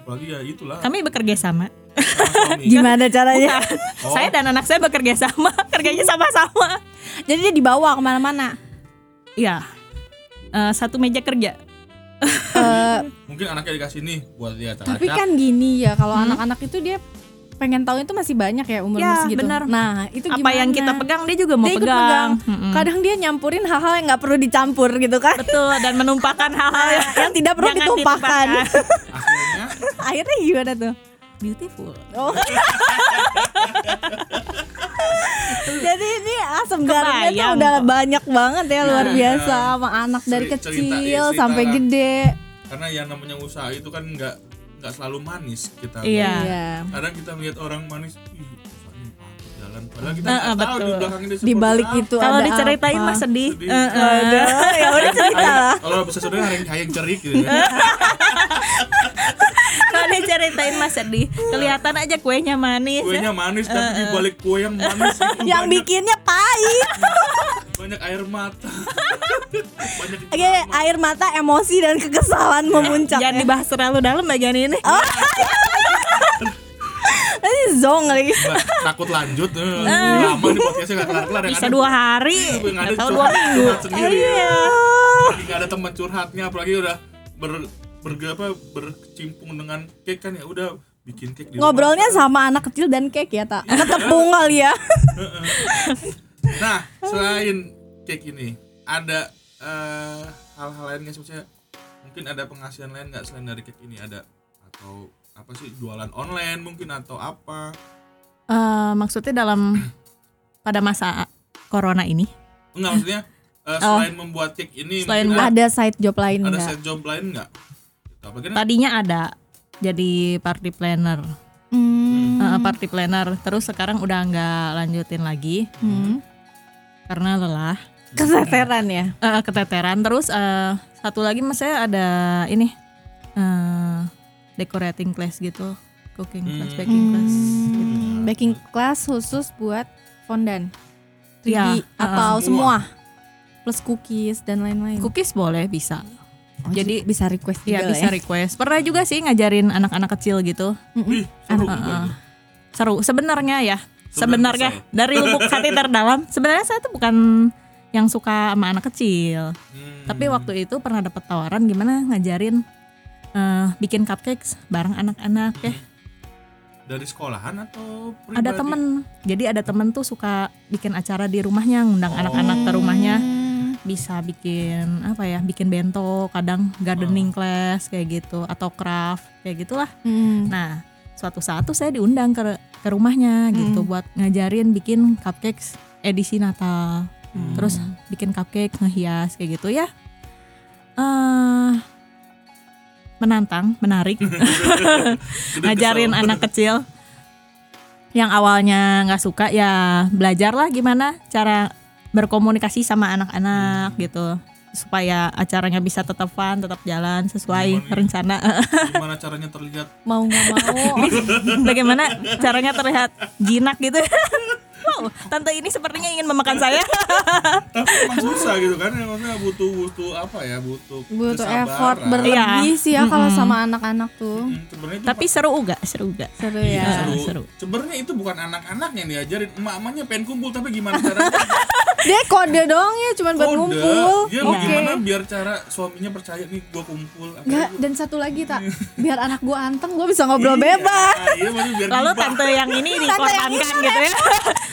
Speaker 4: apalagi ya itulah
Speaker 3: kami bekerja sama
Speaker 4: sama suami.
Speaker 2: Gimana caranya?
Speaker 4: Oh.
Speaker 3: saya dan anak saya bekerja sama kerjanya sama-sama
Speaker 2: Jadi dia dibawa kemana-mana.
Speaker 3: ya Eh, satu meja kerja
Speaker 2: Eh,
Speaker 4: mungkin anaknya dikasih nih buat dia cacat
Speaker 2: tapi kan gini ya
Speaker 3: Hmm.
Speaker 2: kalau anak-anak itu dia pengen tahu itu masih banyak ya umur
Speaker 3: Ya,
Speaker 2: segitu.
Speaker 3: benar.
Speaker 2: Nah itu
Speaker 3: apa
Speaker 2: gimana?
Speaker 3: yang kita pegang dia juga mau
Speaker 2: Dia ikut Kan-
Speaker 3: pegang, Hmm. Mm-mm.
Speaker 2: Kadang dia nyampurin hal-hal yang nggak perlu dicampur gitu kan?
Speaker 3: betul dan menumpahkan hal-hal yang
Speaker 2: yang tidak perlu
Speaker 3: jangan
Speaker 2: ditumpahkan.
Speaker 3: ditumpahkan.
Speaker 4: akhirnya
Speaker 2: Akhirnya gimana tuh?
Speaker 3: beautiful
Speaker 2: Oh. Jadi ini asam garamnya tuh
Speaker 3: Kebayang
Speaker 2: udah
Speaker 3: kok.
Speaker 2: banyak banget ya luar
Speaker 4: Nah,
Speaker 2: biasa sama anak dari
Speaker 4: cerita- ya,
Speaker 2: kecil
Speaker 4: cerita-
Speaker 2: sampai
Speaker 4: cerita.
Speaker 2: gede.
Speaker 4: karena yang namanya usaha itu kan nggak nggak selalu manis kita
Speaker 3: Iya.
Speaker 4: kadang kita melihat orang manis ih usahanya patut jalan padahal kita
Speaker 3: Ah, ah,
Speaker 4: nggak tahu di
Speaker 3: betul.
Speaker 4: belakangnya
Speaker 2: Di
Speaker 4: dia seperti
Speaker 2: balik
Speaker 4: apa.
Speaker 2: itu
Speaker 3: kalau
Speaker 2: ada
Speaker 3: diceritain
Speaker 2: apa?
Speaker 3: mah sedih,
Speaker 4: Sedih.
Speaker 3: Eh, eh.
Speaker 2: Aduh, ya udah cerita lah.
Speaker 4: kalau bisa saudara yang kayak cerik gitu kan
Speaker 3: kalau diceritain mah sedih kelihatan aja kuenya manis ya.
Speaker 4: kuenya manis tapi di balik kue yang manis itu
Speaker 2: Yang
Speaker 4: banyak,
Speaker 2: bikinnya pahit.
Speaker 4: banyak air mata banyak
Speaker 2: Oke, air mata, emosi dan kekesalan memuncak. Ya.
Speaker 3: jangan dibahas terlalu dalam bagian ini
Speaker 2: Oh. Ini zong lagi.
Speaker 4: Mbak, takut lanjut eh, lama nih podcastnya nggak ya, kelar kelar
Speaker 3: bisa dua hari
Speaker 4: Iya, nggak ada
Speaker 3: atau Iya, dua
Speaker 4: curhat,
Speaker 3: minggu
Speaker 4: curhat sendiri
Speaker 2: Iya.
Speaker 4: lagi nggak ada teman curhatnya apalagi udah ber bergapa berkecimpung dengan cake kan ya udah bikin cake di rumah.
Speaker 2: Ngobrolnya sama anak kecil dan cake ya, tak? Ketepung kali ya.
Speaker 4: nah selain cake ini ada eh, hal-hal lain nggak sih? Maksudnya mungkin ada penghasilan lain nggak selain dari cake ini ada atau apa sih jualan online mungkin atau apa
Speaker 3: Eh, maksudnya dalam pada masa corona ini
Speaker 4: enggak maksudnya eh, selain membuat cake ini
Speaker 3: Oh. Selain
Speaker 4: mungkin
Speaker 2: Ada side job lain
Speaker 4: Iya. ada, ada
Speaker 2: enggak?
Speaker 4: side job lain nggak Gitu, apa gimana?
Speaker 3: tadinya ada jadi party planner
Speaker 2: Hmm.
Speaker 3: Eh, party planner terus sekarang udah nggak lanjutin lagi
Speaker 2: hmm.
Speaker 3: karena lelah
Speaker 2: Keseteran ya.
Speaker 3: Eh, keteteran terus eh, satu lagi mas saya ada ini eh, decorating class gitu cooking class baking class gitu.
Speaker 2: Hmm, baking class khusus buat fondan 3D
Speaker 3: Ya,
Speaker 2: atau
Speaker 4: uh,
Speaker 2: semua plus cookies dan lain-lain.
Speaker 3: cookies boleh bisa
Speaker 2: Oh,
Speaker 3: jadi-
Speaker 2: bisa request
Speaker 3: Iya
Speaker 2: juga
Speaker 3: bisa
Speaker 2: ya.
Speaker 3: request pernah juga sih ngajarin anak-anak kecil gitu
Speaker 4: Wih, seru juga
Speaker 3: ah.
Speaker 4: itu.
Speaker 3: seru sebenarnya ya
Speaker 4: Sebenarnya
Speaker 3: sebenarnya dari lubuk hati terdalam sebenarnya saya tuh bukan yang suka sama anak kecil
Speaker 4: Hmm.
Speaker 3: tapi waktu itu pernah dapat tawaran gimana ngajarin eh, bikin cupcakes bareng anak-anak ya
Speaker 4: dari sekolahan atau pribadi?
Speaker 3: ada temen jadi ada temen tuh suka bikin acara di rumahnya ngundang
Speaker 4: Oh.
Speaker 3: anak-anak ke rumahnya bisa bikin apa ya bikin bento kadang
Speaker 4: Oh.
Speaker 3: gardening class kayak gitu atau craft kayak gitulah
Speaker 2: Hmm.
Speaker 3: Nah, suatu saat tuh saya diundang ke ke rumahnya gitu buat ngajarin bikin cupcakes edisi Natal. Terus bikin cupcake ngehias kayak gitu ya. Eh menantang, menarik.
Speaker 4: Gede
Speaker 3: ngajarin
Speaker 4: kesel.
Speaker 3: anak kecil yang awalnya nggak suka ya belajarlah gimana cara berkomunikasi sama anak-anak gitu supaya acaranya bisa tetap fun, tetap jalan sesuai
Speaker 4: Gimana nih?
Speaker 3: rencana.
Speaker 4: gimana caranya terlihat
Speaker 2: Mau nggak mau.
Speaker 3: Bagaimana caranya terlihat jinak gitu? wow, tante ini sepertinya ingin memakan saya.
Speaker 4: tapi emang susah gitu kan maksudnya butuh butuh apa ya butuh
Speaker 2: butuh
Speaker 4: kesabaran.
Speaker 2: effort berlebih sih ya kalau sama anak-anak tuh.
Speaker 4: Hmm, sebenarnya itu
Speaker 3: Tapi seru enggak? Seru enggak?
Speaker 2: Seru
Speaker 4: Iya,
Speaker 2: ya.
Speaker 4: seru.
Speaker 3: seru.
Speaker 4: Sebenarnya itu bukan anak-anak yang diajarin, emak-emaknya pengen kumpul tapi gimana caranya?
Speaker 2: Dia kode doang ya, cuman buat
Speaker 4: Udah,
Speaker 2: ngumpul.
Speaker 4: Dia mau
Speaker 2: Oke.
Speaker 4: gimana biar cara suaminya percaya nih gua kumpul. apa
Speaker 2: Enggak,
Speaker 4: gua-
Speaker 2: dan satu lagi tak, biar anak gua anteng, gua bisa ngobrol
Speaker 4: Iya,
Speaker 2: bebas.
Speaker 4: Iya, maksudnya biar
Speaker 3: Lalu
Speaker 4: gibah.
Speaker 3: tante yang ini
Speaker 2: yang
Speaker 3: dikorbankan
Speaker 2: ini,
Speaker 3: gitu ya.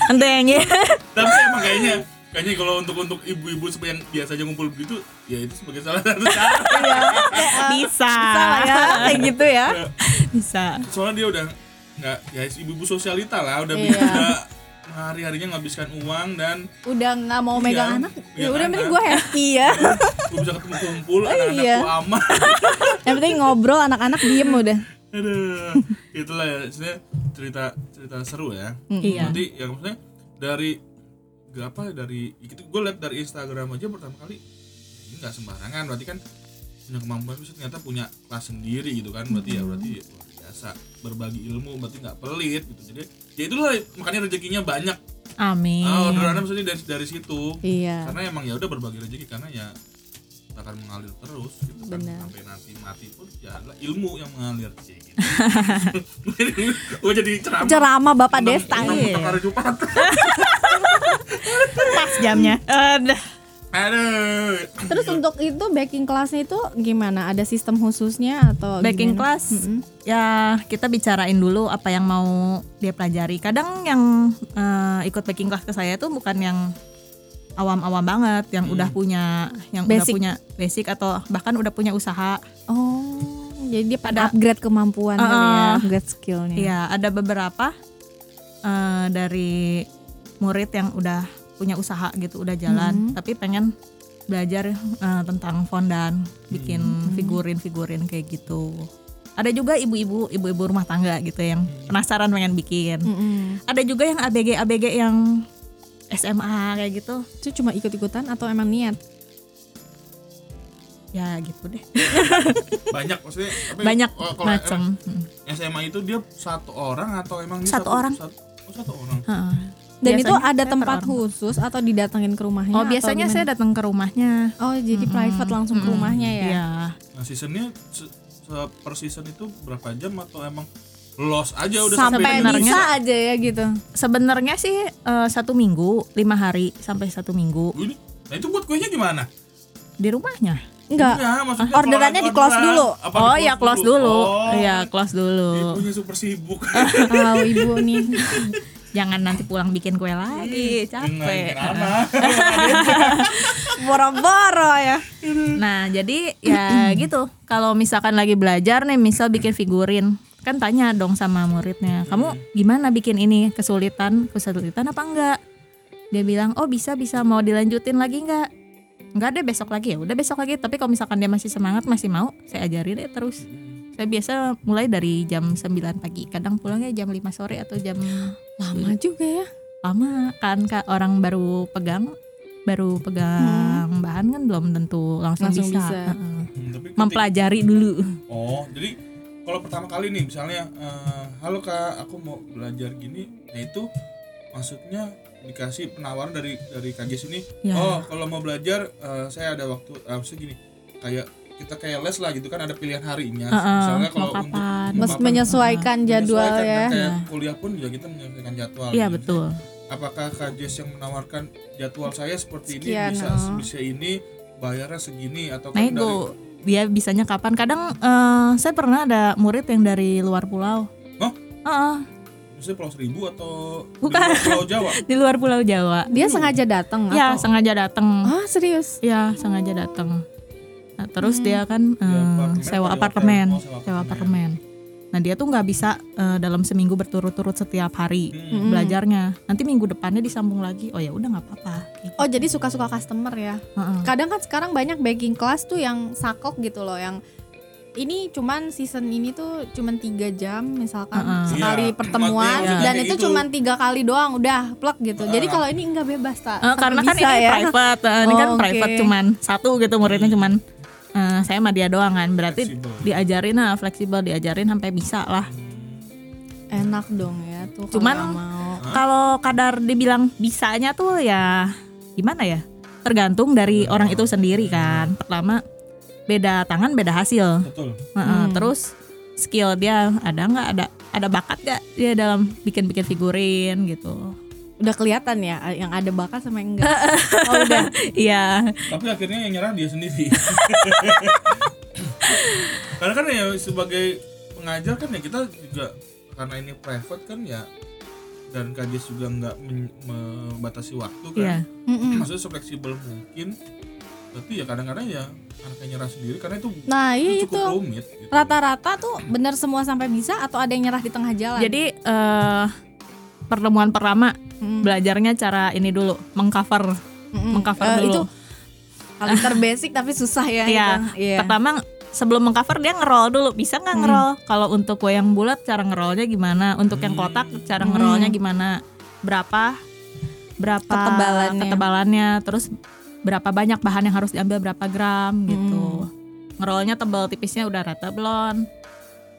Speaker 3: tante yang ini.
Speaker 4: Tapi emang kayaknya kayaknya kalau untuk untuk ibu-ibu seperti yang biasa aja ngumpul begitu, ya itu sebagai salah satu cara.
Speaker 3: Bisa.
Speaker 2: Bisa lah ya, kayak gitu ya.
Speaker 3: Bisa.
Speaker 4: Soalnya dia udah nggak ya ibu-ibu sosialita lah, udah
Speaker 2: Iya.
Speaker 4: udah hari-harinya ngabiskan uang dan
Speaker 2: Udah nggak mau megang
Speaker 4: Iya,
Speaker 2: anak, ya
Speaker 4: megang
Speaker 2: udah
Speaker 4: anak.
Speaker 2: mending gua happy ya.
Speaker 4: gue bisa ketemu kumpul anak-anak
Speaker 2: iya.
Speaker 4: gua aman.
Speaker 2: Yang penting ngobrol anak-anak diem udah.
Speaker 4: Aduh, itulah ya sebenarnya cerita cerita seru ya.
Speaker 3: Iya.
Speaker 4: Nanti yang maksudnya dari gak apa dari itu gue lihat dari Instagram aja pertama kali ini nggak sembarangan berarti kan punya kemampuan bisa ternyata punya kelas sendiri gitu kan berarti ya berarti luar biasa berbagi ilmu berarti nggak pelit gitu jadi ya itulah makanya rezekinya banyak
Speaker 3: Amin.
Speaker 4: ah orderannya maksudnya dari dari situ
Speaker 2: Iya.
Speaker 4: karena emang ya udah berbagi rezeki karena ya akan mengalir terus gitu kan
Speaker 2: Benar.
Speaker 4: sampai nanti mati pun ya adalah ilmu yang mengalir sih gitu. gue jadi ceramah
Speaker 2: Ceramah Bapak
Speaker 4: Tentang-
Speaker 2: Desta.
Speaker 4: tentang
Speaker 3: iya.
Speaker 4: pertengkaran Jumat.
Speaker 3: Pas jamnya. Aduh.
Speaker 4: aduh
Speaker 2: Terus untuk itu backing kelasnya itu gimana? Ada sistem khususnya atau
Speaker 3: Backing
Speaker 2: gimana?
Speaker 3: class ya kita bicarain dulu apa yang mau dia pelajari. Kadang yang eh, ikut backing class ke saya itu bukan yang awam-awam banget, yang udah punya yang udah
Speaker 2: Basic.
Speaker 3: punya basic atau bahkan udah punya usaha.
Speaker 2: Oh, jadi dia pada
Speaker 3: Ada-
Speaker 2: upgrade kemampuan kali ya,
Speaker 3: Ah.
Speaker 2: upgrade skillnya.
Speaker 3: Iya, ada beberapa eh, dari murid yang udah punya usaha gitu, udah jalan, tapi pengen belajar eh, tentang fondan, bikin figurin-figurin kayak gitu. Ada juga ibu-ibu, ibu-ibu rumah tangga gitu yang penasaran pengen bikin.
Speaker 2: Mm-mm.
Speaker 3: Ada juga yang ABG-ABG yang SMA kayak gitu.
Speaker 2: Itu cuma ikut-ikutan atau emang niat?
Speaker 3: Ya gitu deh.
Speaker 4: banyak maksudnya tapi,
Speaker 3: Banyak
Speaker 4: oh, kalau
Speaker 3: macam.
Speaker 4: em- SMA itu dia satu orang atau emang dia
Speaker 3: Satu orang.
Speaker 4: satu, oh, satu orang
Speaker 2: Dan itu ada
Speaker 3: saya
Speaker 2: tempat
Speaker 3: per orang.
Speaker 2: khusus atau didatengin ke rumahnya?
Speaker 3: Oh,
Speaker 2: atau
Speaker 3: biasanya
Speaker 2: gimana?
Speaker 3: saya datang ke rumahnya.
Speaker 2: Oh, jadi private langsung ke rumahnya ya?
Speaker 3: Iya.
Speaker 4: nah seasonnya se- se- per season itu berapa jam atau emang los aja udah
Speaker 2: Sampai,
Speaker 3: Sebenarnya-
Speaker 2: bisa aja ya gitu.
Speaker 3: Sebenarnya sih eh, satu minggu, lima hari sampai satu minggu
Speaker 4: Ini- nah itu buat kuenya gimana
Speaker 3: di rumahnya.
Speaker 2: Enggak. Ah,
Speaker 4: Enggak, maksudnya
Speaker 2: Orderannya
Speaker 4: kalau
Speaker 2: di close
Speaker 4: orderan,
Speaker 2: dulu.
Speaker 3: Oh
Speaker 4: apa di-close
Speaker 3: ya close dulu, Ah,
Speaker 4: Oh,
Speaker 3: ya close dulu.
Speaker 4: Ibunya super sibuk.
Speaker 2: Tahu ibu nih.
Speaker 3: Jangan nanti pulang bikin kue lagi,
Speaker 4: Dengan
Speaker 3: capek.
Speaker 4: drama.
Speaker 2: Boro-boro ya.
Speaker 3: Nah jadi ya gitu. Kalau misalkan lagi belajar nih, misal bikin figurin, kan tanya dong sama muridnya, kamu gimana bikin ini kesulitan, kesulitan apa enggak? Dia bilang, oh bisa bisa mau dilanjutin lagi enggak? Enggak deh besok lagi ya, udah besok lagi. Tapi kalau misalkan dia masih semangat, masih mau, saya ajarin deh terus. Saya biasa mulai dari jam 9 pagi, kadang pulangnya jam 5 sore atau jam
Speaker 2: Lama juga ya.
Speaker 3: lama kan kak orang baru pegang baru pegang bahan kan belum tentu langsung,
Speaker 2: Langsung
Speaker 3: bisa,
Speaker 2: bisa.
Speaker 3: Heeh.
Speaker 4: Hmm, Tapi ketik-
Speaker 3: mempelajari dulu
Speaker 4: Oh, jadi kalau pertama kali nih misalnya eh, halo Kak, aku mau belajar gini, nah itu maksudnya dikasih penawaran dari dari KG sini.
Speaker 3: Ya.
Speaker 4: Oh, kalau mau belajar eh, saya ada waktu eh, maksudnya gini. Kayak kita kayak les lah gitu kan ada pilihan harinya.
Speaker 3: Heeh,
Speaker 4: misalnya kalau
Speaker 3: mau kapan.
Speaker 4: mau
Speaker 2: Mas
Speaker 4: kapan,
Speaker 2: menyesuaikan jadwal
Speaker 4: menyesuaikan. Dan
Speaker 2: ya.
Speaker 4: Kayak kuliah pun juga kita menyesuaikan jadwal. gitu.
Speaker 3: iya
Speaker 4: Jadi
Speaker 3: betul
Speaker 4: apakah kades yang menawarkan jadwal saya seperti ini
Speaker 2: Sekian,
Speaker 4: bisa
Speaker 2: oh.
Speaker 4: bisa ini bayarnya segini atau kan
Speaker 3: nego Nah, dia bisanya kapan kadang eh, saya pernah ada murid yang dari luar pulau
Speaker 4: Hah?
Speaker 3: Heeh,
Speaker 4: dari misalnya pulau seribu atau di
Speaker 3: Bukan.
Speaker 4: luar pulau Jawa
Speaker 3: di luar pulau Jawa
Speaker 2: Dia sengaja datang
Speaker 3: ya
Speaker 2: atau?
Speaker 3: sengaja datang
Speaker 2: Iya. Ah, serius?
Speaker 3: ya sengaja datang nah, terus dia kan eh,
Speaker 4: apartemen
Speaker 3: sewa
Speaker 4: atau Hmm. di
Speaker 3: apartemen
Speaker 4: hotel? Oh, sewa
Speaker 3: sewa
Speaker 4: apartemen.
Speaker 3: apartemen nah dia tuh nggak bisa eh, dalam seminggu berturut-turut setiap hari
Speaker 4: Hmm.
Speaker 2: Mm.
Speaker 3: belajarnya. Nanti minggu depannya disambung lagi. Oh ya udah nggak apa-apa. Kayak
Speaker 2: Oh,
Speaker 3: gitu.
Speaker 2: jadi suka-suka customer ya.
Speaker 3: Heeh.
Speaker 2: Kadang kan sekarang banyak baking class tuh yang sakok gitu loh yang ini cuman season ini tuh cuman tiga jam misalkan
Speaker 3: Heeh.
Speaker 2: sekali
Speaker 4: Iya,
Speaker 2: pertemuan
Speaker 4: maksudnya
Speaker 2: dan
Speaker 4: kayak
Speaker 2: itu
Speaker 4: gitu.
Speaker 2: cuman tiga kali doang udah plek gitu. Jadi
Speaker 4: Heeh.
Speaker 2: kalau ini enggak bebas tak.
Speaker 3: Eh,
Speaker 2: Tapi
Speaker 3: karena kan
Speaker 2: bisa
Speaker 3: ini
Speaker 2: ya.
Speaker 3: private, Eh, ini kan
Speaker 2: Oh, oke.
Speaker 3: private cuman satu gitu muridnya cuman eh, saya sama dia doang kan. Berarti
Speaker 4: Hmm. Fleksibel.
Speaker 3: diajarin lah fleksibel, diajarin sampai bisa lah.
Speaker 2: Enak dong ya tuh. kalau
Speaker 3: Cuman-
Speaker 2: nggak mau.
Speaker 3: Kalau kadar dibilang bisanya tuh ya gimana ya? Tergantung dari
Speaker 2: Hmm.
Speaker 3: orang itu sendiri kan. Pertama beda tangan beda hasil.
Speaker 4: betul
Speaker 3: Heeh,
Speaker 2: Hmm.
Speaker 3: Terus skill dia ada nggak ada ada bakat nggak dia dalam bikin-bikin figurin gitu.
Speaker 2: udah kelihatan ya yang ada bakat sama yang enggak. Oh udah.
Speaker 3: Iya.
Speaker 4: Tapi akhirnya yang nyerah dia sendiri. karena kan ya sebagai pengajar kan ya kita juga karena ini private kan ya dan kadis juga nggak men- membatasi waktu kan.
Speaker 3: Iya.
Speaker 2: Mm-mm.
Speaker 4: Maksudnya sefleksibel mungkin. Tapi ya kadang-kadang ya anaknya nyerah sendiri karena itu
Speaker 2: Nah, iya
Speaker 4: cukup
Speaker 2: itu.
Speaker 4: rumit. Gitu.
Speaker 2: Rata-rata tuh bener semua sampai bisa atau ada yang nyerah di tengah jalan.
Speaker 3: Jadi eh pertemuan pertama
Speaker 2: Mm.
Speaker 3: belajarnya cara ini dulu mengcover
Speaker 2: Mm-mm.
Speaker 3: mengcover
Speaker 2: Eh,
Speaker 3: dulu.
Speaker 2: Itu paling terbasic tapi susah ya.
Speaker 3: Iya.
Speaker 2: gitu. Iya. Hmm.
Speaker 3: Pertama sebelum mengcover dia ngerol dulu bisa nggak ngerol? Kalau untuk wayang bulat cara ngerolnya gimana? Untuk
Speaker 2: Hmm.
Speaker 3: yang kotak cara ngerolnya gimana? Berapa? Berapa
Speaker 2: Ketebalannya.
Speaker 3: ketebalannya? Terus berapa banyak bahan yang harus diambil berapa gram
Speaker 2: Hmm.
Speaker 3: gitu? Ngerolnya tebal tipisnya udah rata belum?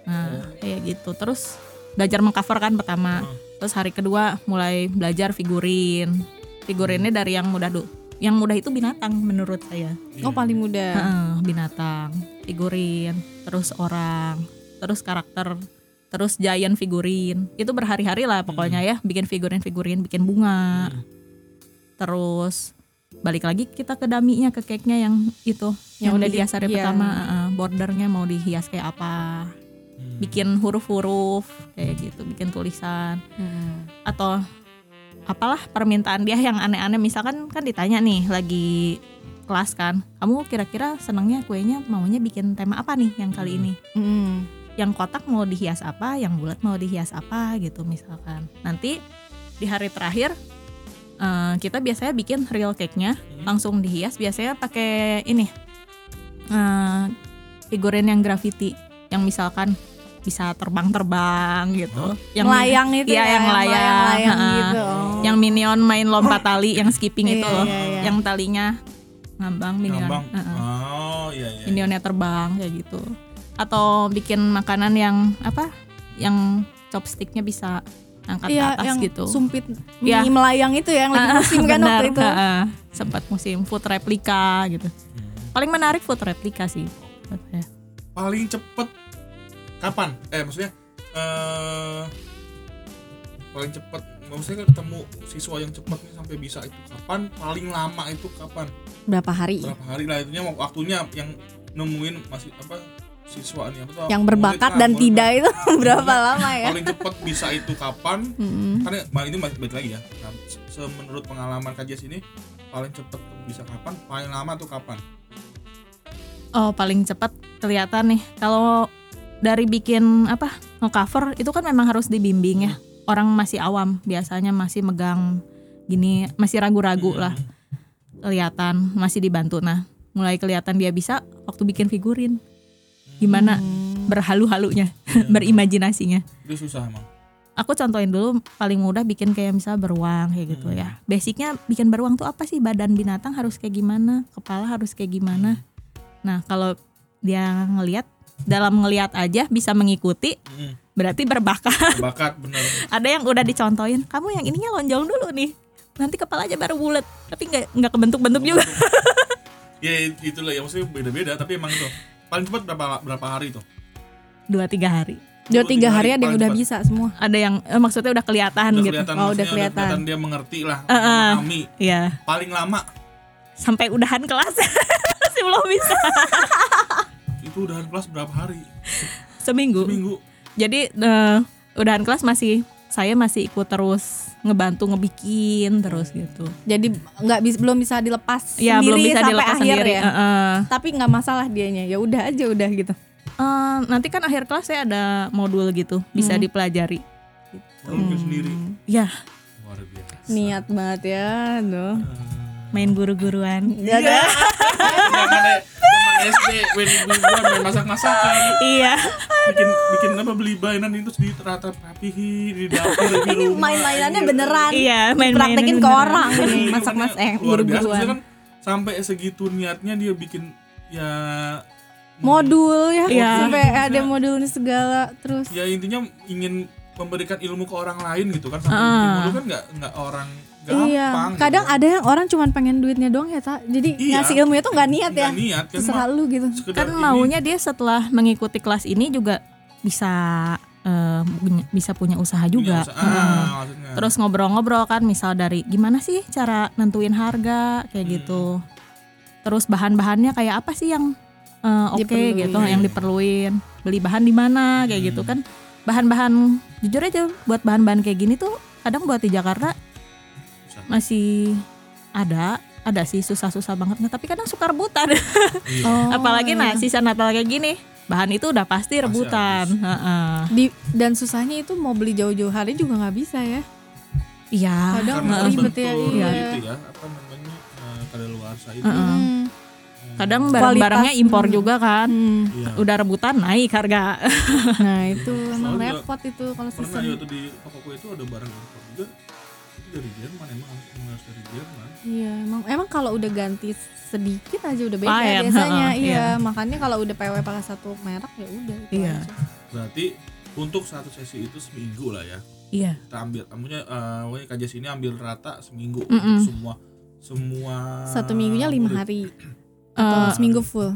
Speaker 3: Nah
Speaker 2: Hmm.
Speaker 3: kayak gitu. Terus belajar mengcover kan pertama. Terus hari kedua mulai belajar figurin. Figurinnya
Speaker 2: Hmm.
Speaker 3: dari yang mudah dulu. Yang mudah itu binatang menurut saya.
Speaker 2: Oh, paling mudah.
Speaker 3: Heeh, binatang, figurin, terus orang, terus karakter, terus giant figurin. Itu berhari-hari lah pokoknya ya, bikin figurin-figurin, bikin bunga. Terus balik lagi kita ke daminya, ke cake-nya yang itu,
Speaker 2: Yang
Speaker 3: yang, udah
Speaker 2: di-
Speaker 3: dihias hari
Speaker 2: iya.
Speaker 3: pertama, heeh, bordernya mau dihias kayak apa.
Speaker 4: Hmm.
Speaker 3: Bikin huruf-huruf kayak gitu, bikin tulisan
Speaker 2: Mm.
Speaker 3: atau apalah permintaan dia yang aneh-aneh misalkan kan ditanya nih lagi kelas kan kamu kira-kira senangnya kuenya maunya bikin tema apa nih yang kali ini
Speaker 2: Mm.
Speaker 3: yang kotak mau dihias apa yang bulat mau dihias apa gitu misalkan nanti di hari terakhir eh, kita biasanya bikin real cake-nya langsung dihias biasanya pakai ini eh, figurin yang graffiti yang misalkan bisa terbang-terbang gitu yang
Speaker 2: melayang itu
Speaker 3: Iya,
Speaker 2: ya,
Speaker 3: yang melayang.
Speaker 2: melayang
Speaker 3: Ha-ha.
Speaker 2: gitu. Oh.
Speaker 3: yang minion main lompat tali yang skipping itu
Speaker 2: Iya,
Speaker 3: loh
Speaker 2: iya, iya.
Speaker 3: yang talinya ngambang minion
Speaker 4: Ngambang.
Speaker 3: Heeh.
Speaker 4: Oh iya iya.
Speaker 3: minionnya terbang kayak gitu atau bikin makanan yang apa yang chopsticknya bisa angkat
Speaker 2: Iya,
Speaker 3: ke atas
Speaker 2: yang
Speaker 3: gitu
Speaker 2: sumpit mini
Speaker 3: Iya.
Speaker 2: melayang itu ya yang lagi musim kan
Speaker 3: Benar,
Speaker 2: waktu itu.
Speaker 3: heeh. sempat musim food replika gitu paling menarik food replika sih menurut saya.
Speaker 4: paling cepet kapan? Eh maksudnya eh paling cepet maksudnya kan ketemu siswa yang cepet nih sampai bisa itu kapan? Paling lama itu kapan?
Speaker 2: Berapa hari?
Speaker 4: Berapa hari lah itunya waktunya yang nemuin masih apa siswa nih apa tuh?
Speaker 2: Yang
Speaker 4: murid
Speaker 2: berbakat
Speaker 4: lah,
Speaker 2: dan
Speaker 4: murid
Speaker 2: tidak
Speaker 4: lah.
Speaker 2: itu berapa lama ya? Hmm.
Speaker 4: Paling cepet bisa itu kapan?
Speaker 2: Mm-mm.
Speaker 4: Karena bah, itu masih balik lagi ya. Nah, se- se- menurut pengalaman kajian ini paling cepet bisa kapan? Paling lama tuh kapan?
Speaker 3: oh paling cepat kelihatan nih kalau dari bikin apa ngecover itu kan memang harus dibimbing ya orang masih awam biasanya masih megang gini masih ragu-ragu lah kelihatan masih dibantu nah mulai kelihatan dia bisa waktu bikin figurin gimana berhalu-halunya berimajinasinya
Speaker 4: Itu susah emang.
Speaker 3: aku contohin dulu paling mudah bikin kayak misalnya beruang kayak gitu ya.
Speaker 4: Hmm.
Speaker 3: Basicnya bikin beruang tuh apa sih? Badan binatang harus kayak gimana? Kepala harus kayak
Speaker 4: Hmm.
Speaker 3: gimana? Nah, kalau dia ngelihat dalam ngelihat aja bisa mengikuti
Speaker 4: Mm,
Speaker 3: berarti berbakat.
Speaker 4: Bakat bener.
Speaker 3: Ada yang udah dicontohin, kamu yang ininya lonjong dulu nih. Nanti kepalanya baru bulat, tapi nggak nggak kebentuk-bentuk juga.
Speaker 4: ya itulah ya maksudnya beda-beda tapi emang itu paling cepat berapa berapa hari tuh
Speaker 3: Dua tiga hari.
Speaker 2: Dua tiga hari ada
Speaker 4: paling
Speaker 2: yang udah
Speaker 4: cepat.
Speaker 2: bisa semua.
Speaker 3: Ada yang eh, maksudnya udah kelihatan
Speaker 4: udah
Speaker 3: gitu.
Speaker 4: kelihatan
Speaker 2: Oh, udah
Speaker 4: maksudnya
Speaker 2: kelihatan.
Speaker 4: dia mengerti lah
Speaker 3: Eh, eh.
Speaker 4: memahami
Speaker 3: Iya,
Speaker 4: paling lama
Speaker 3: sampai udahan kelas masih belum bisa.
Speaker 4: itu udah kelas berapa hari
Speaker 3: Seminggu.
Speaker 4: minggu
Speaker 3: jadi eh, udahan kelas masih saya masih ikut terus ngebantu ngebikin terus gitu
Speaker 2: Jadi nggak bis- belum bisa dilepas sendiri
Speaker 3: ya belum bisa
Speaker 2: sampai
Speaker 3: dilepas
Speaker 2: akhir
Speaker 3: sendiri
Speaker 2: ya.
Speaker 3: Heeh.
Speaker 2: Tapi nggak masalah dianya. Ya udah aja udah gitu.
Speaker 3: Eh, nanti kan akhir kelas saya ada modul gitu bisa
Speaker 2: Hmm.
Speaker 3: dipelajari
Speaker 4: baru mungkin sendiri
Speaker 3: ya
Speaker 4: luar biasa
Speaker 2: Niat banget ya. Aduh.
Speaker 3: main guru-guruan
Speaker 2: Ya, kan?
Speaker 4: zaman zaman SD when we were main masak masakan
Speaker 3: iya
Speaker 4: bikin bikin apa beli mainan itu di teratur rapihi di dapur di
Speaker 2: Ini
Speaker 4: rumah
Speaker 2: main-mainannya beneran.
Speaker 3: iya main
Speaker 2: Praktekin ke orang nih
Speaker 4: Iya,
Speaker 2: masak mas
Speaker 4: makanya
Speaker 2: eh
Speaker 4: luar biasa Maksudnya
Speaker 2: buru-buruan.
Speaker 4: kan sampai segitu niatnya dia bikin ya
Speaker 2: Modul ya
Speaker 3: Iya.
Speaker 2: sampai ada modulnya segala terus.
Speaker 4: ya intinya ingin memberikan ilmu ke orang lain gitu kan sampai bikin modul kan nggak nggak orang gampang
Speaker 2: Ah. Iya, kadang
Speaker 4: gitu.
Speaker 2: ada yang orang cuman pengen duitnya doang ya, Ta. Jadi
Speaker 4: Iya.
Speaker 2: ngasih ilmunya tuh nggak niat ya.
Speaker 4: Nggak niat kan
Speaker 2: Terserah
Speaker 4: Mak.
Speaker 2: lu gitu.
Speaker 4: Sekedar
Speaker 3: kan
Speaker 4: ini,
Speaker 3: maunya dia setelah mengikuti kelas ini juga bisa eh, punya- bisa punya usaha
Speaker 4: punya
Speaker 3: juga
Speaker 4: usaha,
Speaker 3: Heeh.
Speaker 2: Ah.
Speaker 4: maksudnya.
Speaker 3: Terus ngobrol-ngobrol kan misal dari gimana sih cara nentuin harga kayak gitu. Terus bahan-bahannya kayak apa sih yang eh, oke
Speaker 2: Diperluin.
Speaker 3: gitu yang diperluin. Beli bahan di mana kayak gitu kan. Bahan-bahan jujur aja buat bahan-bahan kayak gini tuh kadang buat di Jakarta
Speaker 4: Susah.
Speaker 3: masih ada ada sih susah-susah banget tapi kadang suka rebutan
Speaker 4: Iya.
Speaker 2: Oh.
Speaker 3: apalagi nah sisa Natal kayak gini bahan itu udah pasti rebutan Heeh.
Speaker 2: Di, dan susahnya itu mau beli jauh-jauh hari juga nggak bisa ya.
Speaker 3: iya
Speaker 2: Kadang
Speaker 4: Karena
Speaker 2: ribet ya.
Speaker 4: bentuk
Speaker 2: Iya.
Speaker 4: itu ya apa namanya eh, kadaluarsa itu
Speaker 2: Hmm.
Speaker 3: kadang barang-barangnya impor juga kan
Speaker 4: Iya.
Speaker 2: Hmm.
Speaker 3: udah rebutan naik harga
Speaker 2: Nah itu emang
Speaker 4: Soalnya
Speaker 2: repot itu kalau
Speaker 4: pernah
Speaker 2: season.
Speaker 4: ya tuh di tokoku itu ada barang impor juga itu dari Jerman emang harus emang harus dari Jerman
Speaker 2: Iya emang emang kalau udah ganti sedikit aja udah beda
Speaker 3: Lain,
Speaker 2: biasanya.
Speaker 3: heeh,
Speaker 2: iya.
Speaker 3: iya.
Speaker 2: makanya kalau udah PW pakai satu merek ya udah. itu
Speaker 3: Iya.
Speaker 2: aja.
Speaker 4: berarti untuk satu sesi itu seminggu lah ya
Speaker 3: iya
Speaker 4: kita ambil maksudnya eh pokoknya kajian ini ambil rata seminggu
Speaker 3: Mm-mm.
Speaker 4: semua semua
Speaker 2: Satu minggunya lima
Speaker 4: murid.
Speaker 2: hari
Speaker 3: Eh,
Speaker 2: atau seminggu full.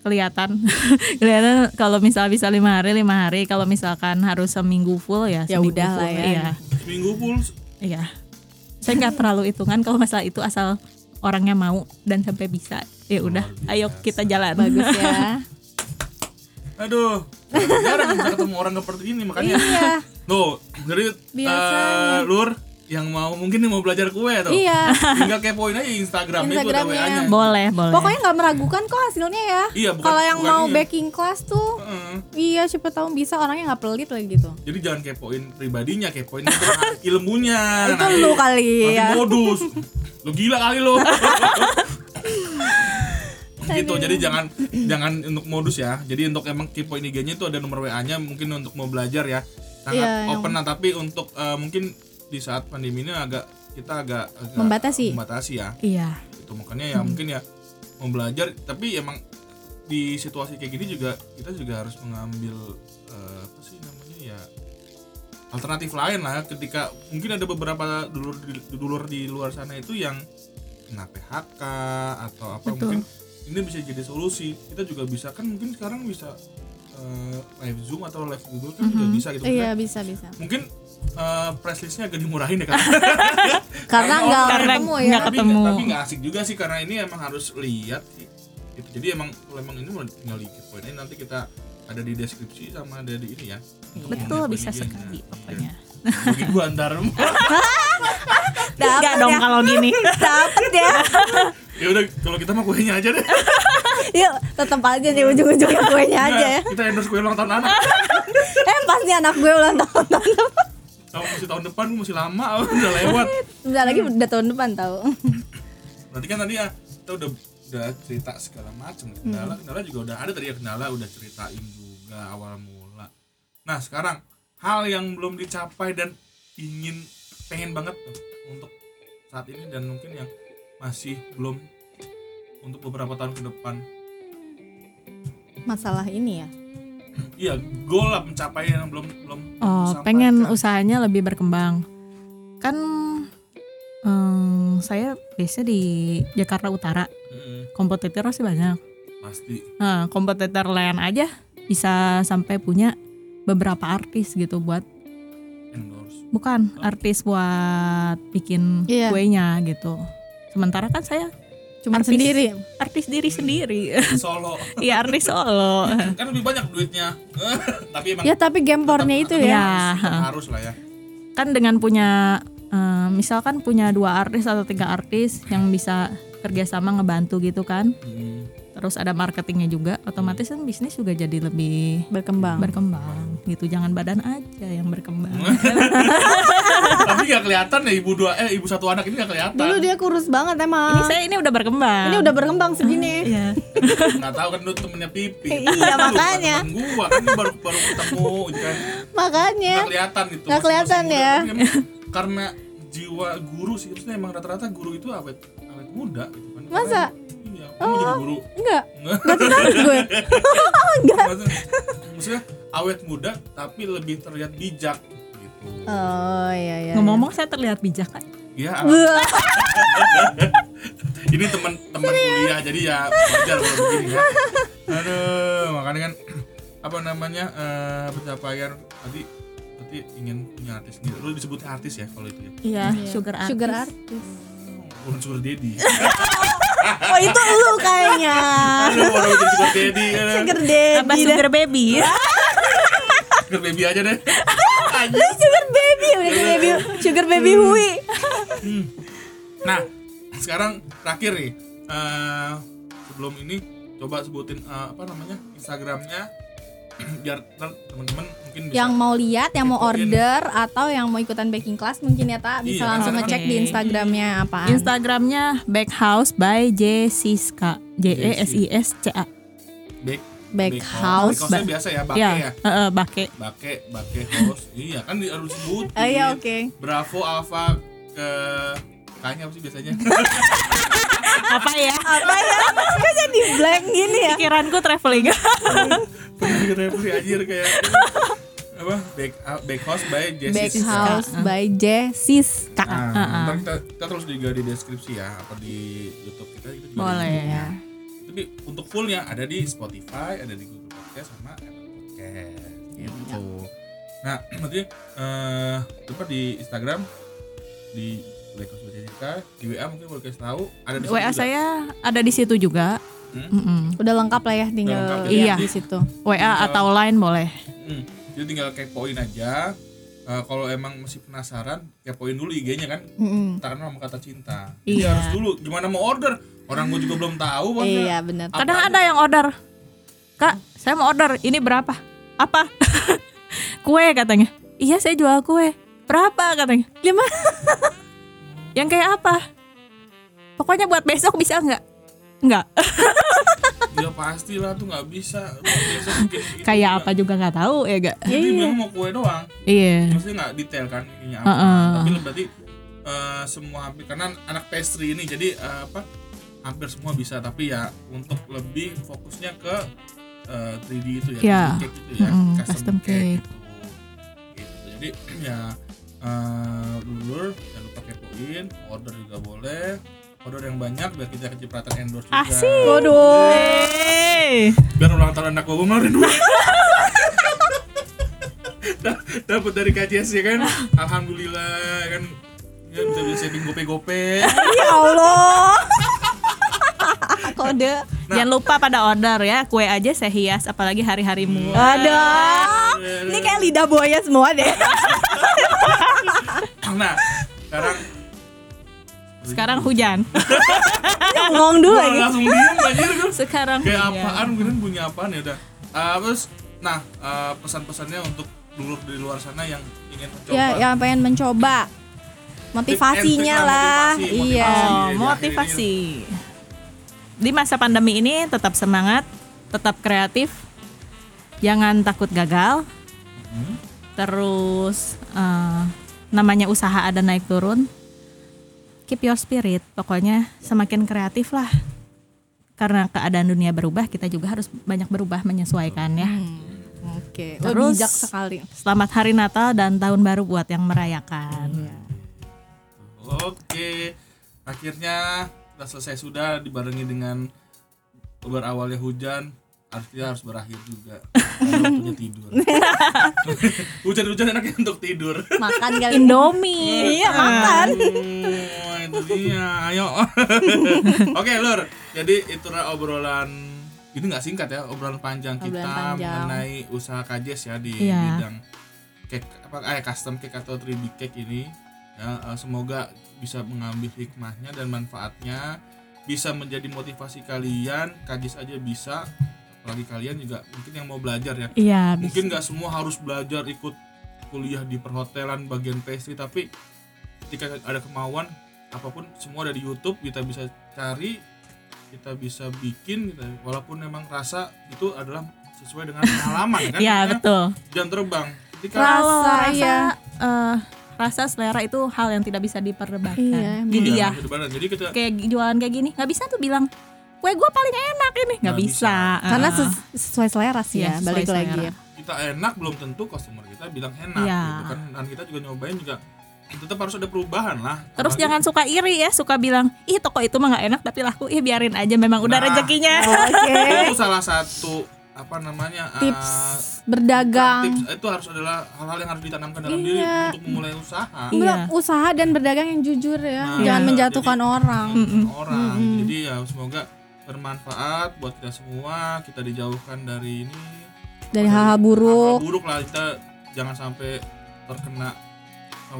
Speaker 3: kelihatan kelihatan kalau misal bisa lima hari lima hari kalau misalkan harus seminggu full ya
Speaker 2: Ya
Speaker 3: seminggu
Speaker 2: udah lah
Speaker 3: full.
Speaker 2: ya.
Speaker 3: iya
Speaker 4: seminggu full
Speaker 3: iya saya nggak terlalu hitungan kalau masalah itu asal orangnya mau dan sampai bisa ya udah
Speaker 4: Luar
Speaker 3: ayo
Speaker 4: biasa.
Speaker 3: kita jalan
Speaker 2: Bagus ya.
Speaker 4: aduh jarang bisa ketemu orang seperti ini makanya
Speaker 2: iya.
Speaker 4: tuh jadi
Speaker 2: Biasanya.
Speaker 4: eh, lur yang mau mungkin nih mau belajar kue tuh
Speaker 2: Iya.
Speaker 4: tinggal kepoin aja Instagram itu atau
Speaker 2: Instagramnya.
Speaker 4: WA-nya
Speaker 3: boleh boleh
Speaker 2: Pokoknya nggak meragukan kok hasilnya ya.
Speaker 4: Iya, bukan-
Speaker 2: Kalau yang
Speaker 4: bukan
Speaker 2: mau
Speaker 4: iya.
Speaker 2: backing class tuh,
Speaker 4: Heeh.
Speaker 2: iya siapa tahu bisa orangnya nggak pelit lagi gitu.
Speaker 4: jadi jangan kepoin pribadinya kepoin itu
Speaker 2: itu
Speaker 4: ilmunya Nanti-
Speaker 2: lu kali
Speaker 4: Nanti
Speaker 2: ya.
Speaker 4: modus. Lu gila kali lu. gitu. Jadi jangan jangan untuk modus ya. Jadi untuk emang keep point IG-nya itu ada nomor WA-nya mungkin untuk mau belajar ya. Sangat
Speaker 2: Iya, yang-
Speaker 4: open lah tapi untuk eh, mungkin di saat pandemi ini agak kita agak, agak
Speaker 2: Membatasi.
Speaker 4: membatasi ya.
Speaker 3: iya
Speaker 4: Itu makanya ya mungkin ya mau belajar tapi emang di situasi kayak gini juga kita juga harus mengambil eh, apa sih namanya ya alternatif lain lah ketika mungkin ada beberapa dulur di, dulur di luar sana itu yang kena PHK atau apa mungkin ini bisa jadi solusi kita juga bisa kan mungkin sekarang bisa eh, live zoom atau live google kan juga bisa gitu
Speaker 2: Iya bisa bisa.
Speaker 4: mungkin eh price listnya agak dimurahin ya kan
Speaker 2: Karena
Speaker 4: Karena
Speaker 2: nggak
Speaker 3: orang-
Speaker 2: ketemu ya.
Speaker 3: nggak
Speaker 4: tapi
Speaker 3: ketemu.
Speaker 4: nggak- tapi nggak asik juga sih karena ini emang harus lihat sih. Gitu. jadi emang kalau emang ini mau tinggal dikit poinnya nanti kita ada di deskripsi sama ada di ini ya
Speaker 3: betul
Speaker 4: Iya.
Speaker 3: bisa
Speaker 4: Iya.
Speaker 3: sekali pokoknya
Speaker 4: Nah, bagi gua antar
Speaker 3: Enggak
Speaker 2: ya.
Speaker 3: dong kalau gini
Speaker 2: Dapet ya.
Speaker 4: ya udah kalau kita mah kuenya aja deh
Speaker 2: Yuk tetap aja di ujung-ujungnya kuenya aja ya.
Speaker 4: kita endorse kue ulang tahun anak
Speaker 2: Eh pasti anak gue ulang tahun tahun depan.
Speaker 4: tahun masih tahun depan gua masih lama udah lewat
Speaker 2: Bentar lagi udah tahun depan tahu.
Speaker 4: berarti kan tadi ya kita udah udah cerita segala macam
Speaker 3: Hmm.
Speaker 4: kendala kendala juga udah ada tadi ya kendala udah ceritain juga awal mula nah sekarang hal yang belum dicapai dan ingin pengen banget tuh untuk saat ini dan mungkin yang masih belum untuk beberapa tahun ke depan
Speaker 2: Masalah ini ya.
Speaker 4: iya goal lah mencapai yang belum belum
Speaker 3: oh
Speaker 4: sampai.
Speaker 3: pengen
Speaker 4: Kan
Speaker 3: usahanya lebih berkembang kan em, saya biasa di Jakarta Utara
Speaker 4: Mm-mm,
Speaker 3: kompetitor sih banyak
Speaker 4: Hmm, pasti
Speaker 3: nah, kompetitor lain aja bisa sampai punya beberapa artis gitu buat
Speaker 4: endorse
Speaker 3: bukan artis buat bikin
Speaker 2: Iya.
Speaker 3: kuenya gitu sementara kan saya
Speaker 2: Cuman
Speaker 3: Artis.
Speaker 2: sendiri.
Speaker 3: artis diri sendiri
Speaker 4: Di Solo
Speaker 3: ya artis solo
Speaker 4: kan lebih banyak duitnya tapi emang
Speaker 2: Ya tapi gampornya itu ya.
Speaker 3: ya
Speaker 4: tetap harus lah ya
Speaker 3: kan dengan punya eh, misalkan punya dua artis atau tiga artis yang bisa kerjasama ngebantu gitu kan
Speaker 4: Mm.
Speaker 3: terus ada marketingnya juga otomatis kan bisnis juga jadi lebih
Speaker 2: Berkembang.
Speaker 3: berkembang gitu jangan badan aja yang berkembang
Speaker 4: Tapi gak kelihatan ya ibu dua eh ibu satu anak ini gak kelihatan.
Speaker 2: Dulu dia kurus banget emang.
Speaker 3: ini saya ini udah berkembang
Speaker 2: ini Ah, udah berkembang segini.
Speaker 3: Iya.
Speaker 4: Gak tahu kan lu temennya pipi.
Speaker 2: Iya,
Speaker 4: Lu bukan
Speaker 2: makanya.
Speaker 4: temen Gua kan ini baru baru ketemu gitu kan. Gak
Speaker 2: Makanya
Speaker 4: kelihatan gitu.
Speaker 2: Nggak kelihatan
Speaker 4: Masih
Speaker 2: ya.
Speaker 4: muda, tapi emang karena jiwa guru sih itu emang rata-rata guru itu awet awet muda gitu kan.
Speaker 2: Masa?
Speaker 4: Karena- Iya, kamu jadi guru.
Speaker 2: enggak
Speaker 4: Nggak.
Speaker 2: tertarik gue.
Speaker 4: Maksudnya- Maksudnya awet muda tapi lebih terlihat bijak gitu.
Speaker 2: Oh iya iya.
Speaker 3: ngomong-ngomong saya terlihat bijak kan
Speaker 4: Iya. ini teman-teman kuliah jadi ya wajar kalau begini ya. Aduh, makanya kan apa namanya eh pencapaian tadi berarti ingin punya artis sendiri lu disebut artis ya kalau itu ya
Speaker 3: Iya, sugar artist.
Speaker 2: Sugar artis.
Speaker 4: bukan sugar daddy
Speaker 3: Oh, itu lu kayaknya.
Speaker 4: Aduh, orang jadi sugar daddy kan
Speaker 6: Sugar daddy
Speaker 3: Apa sugar baby?
Speaker 4: sugar baby aja deh Anjing.
Speaker 6: dah. Sugar baby udah kayak baby sugar baby hui.
Speaker 4: Nah, sekarang terakhir nih. Eh, sebelum ini coba sebutin eh, apa namanya Instagramnya biar ntar teman-teman mungkin bisa.
Speaker 2: Yang mau lihat, yang mau
Speaker 4: Kepoin.
Speaker 2: order atau yang mau ikutan baking class mungkin ya tak bisa
Speaker 4: Iya.
Speaker 2: langsung ngecek di
Speaker 3: Oke.
Speaker 2: Instagramnya apaan.
Speaker 3: Instagramnya Backhouse by J Siska. J E S I S C A.
Speaker 4: back
Speaker 2: Back
Speaker 4: back
Speaker 2: house.
Speaker 4: Back house-nya biasa ya, bake
Speaker 3: Iya,
Speaker 4: ya.
Speaker 3: heeh, bake.
Speaker 4: Bake, bake house. iya, kan di- harus sebut.
Speaker 2: Eh, iya, oke.
Speaker 4: Bravo Alpha ke kayaknya apa sih biasanya?
Speaker 3: Apa ya?
Speaker 6: Apa ya? Kok jadi blank gini ya?
Speaker 3: Pikiranku traveling.
Speaker 4: Referensi anjir kayak apa? Back back house by Jessica.
Speaker 2: Back house
Speaker 4: Ah.
Speaker 2: by Jessis.
Speaker 3: Ah,
Speaker 4: Nah, ntar kita, kita terus juga di deskripsi ya apa di YouTube kita itu juga
Speaker 3: Boleh. ya.
Speaker 4: di- Tapi untuk fullnya ada di Spotify, ada di Google Podcast sama Apple Podcast.
Speaker 3: Iya,
Speaker 4: Gitu. Nah, nanti eh coba di Instagram di Black House Bercerita, di WA mungkin boleh kasih tahu ada di situ
Speaker 3: WA
Speaker 4: juga.
Speaker 3: saya ada di situ juga.
Speaker 4: Hmm?
Speaker 3: Mm-mm.
Speaker 2: Udah lengkap lah ya tinggal
Speaker 4: Udah lengkap ya.
Speaker 2: lihat
Speaker 3: Iya.
Speaker 2: di situ.
Speaker 3: WA atau line boleh.
Speaker 4: Hmm, Jadi tinggal kepoin aja. Eh, kalau emang masih penasaran, kepoin dulu IG-nya kan.
Speaker 2: Mm-mm.
Speaker 4: Karena sama kata cinta. Jadi
Speaker 3: Iya.
Speaker 4: harus dulu gimana mau order. Orang gue juga belum tahu Bang.
Speaker 2: Iya, benar.
Speaker 4: Apa
Speaker 3: Kadang
Speaker 4: aja?
Speaker 3: ada yang order. Kak, saya mau order. Ini berapa? Apa? kue katanya. Iya, saya jual kue. Berapa katanya? Lima. yang kayak apa? Pokoknya buat besok bisa nggak? Nggak.
Speaker 4: Ya pasti lah tuh nggak bisa. Biasa bikin gitu
Speaker 3: kayak
Speaker 4: juga.
Speaker 3: apa juga nggak tahu ya gak?
Speaker 4: Jadi dia bilang mau kue doang.
Speaker 3: Iya.
Speaker 4: Maksudnya nggak detail kan ininya apa.
Speaker 3: Heeh.
Speaker 4: Tapi berarti eh, semua hampir karena anak pastry ini jadi eh, apa hampir semua bisa tapi ya untuk lebih fokusnya ke eh, 3D itu ya,
Speaker 3: Iya.
Speaker 4: custom cake gitu ya,
Speaker 3: Mm-mm, custom cake.
Speaker 4: Gitu. Gitu. Jadi ya eh dulur jangan lupa kepoin, order juga boleh. Order yang banyak biar kita kecipratan endorse juga.
Speaker 3: Asik. Yeay.
Speaker 4: biar ulang tahun anak gue kemarin duit Da- dapat dari KJS ya kan alhamdulillah ya kan ya bisa bisa saving gope gope
Speaker 6: Ya Allah.
Speaker 3: Kode.
Speaker 4: Nah.
Speaker 3: Jangan lupa pada order ya. Kue aja saya hias apalagi hari-harimu.
Speaker 6: Ada. Ini kayak lidah buaya semua deh.
Speaker 4: nah sekarang
Speaker 3: Sekarang hujan.
Speaker 6: Ngomong dulu
Speaker 4: Wah,
Speaker 6: lagi.
Speaker 4: langsung diem anjir gue
Speaker 3: Sekarang
Speaker 4: kayak
Speaker 3: hujan.
Speaker 4: apaan mungkin punya apaan ya udah Ah, terus nah ah, pesan-pesannya untuk dulur di luar sana yang ingin mencoba
Speaker 2: Ya, yang pengen mencoba. Motivasinya
Speaker 4: Tips and trick
Speaker 2: lah.
Speaker 4: lah, motivasi,
Speaker 2: Iya.
Speaker 3: Oh,
Speaker 4: motivasi. Jadi,
Speaker 3: motivasi. Di masa pandemi ini tetap semangat, tetap kreatif, jangan takut gagal. Terus eh, namanya usaha ada naik turun. Keep your spirit, pokoknya semakin kreatif lah. Karena keadaan dunia berubah, kita juga harus banyak berubah menyesuaikan ya.
Speaker 2: Oke. Oh,
Speaker 3: Terus-
Speaker 2: bijak sekali.
Speaker 3: Selamat Hari Natal dan Tahun Baru buat yang merayakan.
Speaker 4: Oke, akhirnya kita selesai sudah dibarengi dengan berawalnya hujan, artinya harus berakhir juga. Waktunya tidur. Hujan-hujan enaknya untuk tidur.
Speaker 2: Makan kali.
Speaker 3: Indomie.
Speaker 6: Ah.
Speaker 3: Iya,
Speaker 4: Oh, itu dia. Ayo. Oke, Lur. Jadi itulah obrolan ini nggak singkat ya, obrolan panjang
Speaker 2: Obrolan
Speaker 4: kita
Speaker 2: panjang.
Speaker 4: mengenai usaha KJS ya di
Speaker 3: Iya.
Speaker 4: bidang cake apa eh, custom cake atau 3D cake ini. Ya, eh, semoga bisa mengambil hikmahnya dan manfaatnya, bisa menjadi motivasi kalian. KJS aja bisa, apalagi kalian juga mungkin yang mau belajar ya
Speaker 3: Iya,
Speaker 4: mungkin nggak semua harus belajar ikut kuliah di perhotelan bagian pastry tapi ketika ada kemauan apapun semua ada di YouTube kita bisa cari kita bisa bikin gitu. walaupun memang rasa itu adalah sesuai dengan pengalaman kan
Speaker 3: Iya,
Speaker 4: Makanya
Speaker 3: betul.
Speaker 4: jam terbang kan ketika
Speaker 2: Rasa,
Speaker 3: Kalau rasa
Speaker 2: iya.
Speaker 3: eh, rasa selera itu hal yang tidak bisa diperdebatkan.
Speaker 2: Iya,
Speaker 3: Jadi ya,
Speaker 4: Iya, benar. jadi kita
Speaker 3: kayak jualan kayak gini nggak bisa tuh bilang kue gue paling enak ini nggak
Speaker 4: Nggak
Speaker 3: bisa.
Speaker 2: Karena
Speaker 3: Eh,
Speaker 2: ses- sesuai selera sih
Speaker 3: Iya,
Speaker 2: ya,
Speaker 3: sesuai
Speaker 2: balik
Speaker 3: selera.
Speaker 2: lagi ya.
Speaker 4: kita enak belum tentu customer kita bilang enak
Speaker 3: Iya.
Speaker 4: gitu kan dan kita juga nyobain juga tetap harus ada perubahan lah
Speaker 3: Terus
Speaker 4: Apalagi-
Speaker 3: jangan suka iri ya, suka bilang, ih toko itu mah nggak enak tapi laku, ih biarin aja memang udah
Speaker 4: Nah.
Speaker 3: rezekinya.
Speaker 6: Oke.
Speaker 4: itu salah satu apa namanya eh,
Speaker 2: tips berdagang
Speaker 4: tips eh, itu harus adalah hal-hal yang harus ditanamkan dalam diri
Speaker 2: Iya.
Speaker 4: untuk memulai usaha
Speaker 2: Belum, usaha dan berdagang yang jujur ya
Speaker 4: Iya. Nah,
Speaker 2: jangan
Speaker 4: iya.
Speaker 2: menjatuhkan
Speaker 4: Jadi-
Speaker 2: orang
Speaker 4: orang jadi ya semoga bermanfaat buat kita semua kita dijauhkan dari ini
Speaker 2: dari hal-hal
Speaker 4: hal-hal
Speaker 2: buruk
Speaker 4: buruk lah kita jangan sampai terkena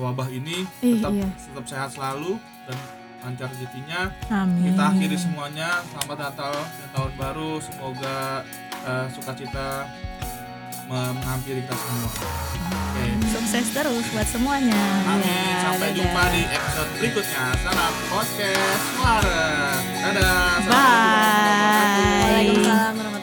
Speaker 4: wabah ini
Speaker 2: Ih,
Speaker 4: tetap
Speaker 2: iya.
Speaker 4: tetap sehat selalu dan lancar rezekinya
Speaker 3: Amin.
Speaker 4: kita akhiri semuanya selamat Natal dan tahun baru semoga eh, sukacita me- menghampiri kita semua oke
Speaker 3: Sukses terus buat semuanya.
Speaker 4: Amin. Sampai jumpa di episode berikutnya. Salam podcast Warung. Dadah. Assalamualaikum warahmatullahi wabarakatuh.
Speaker 3: Bye.
Speaker 2: Waalaikumsalam warahmatullahi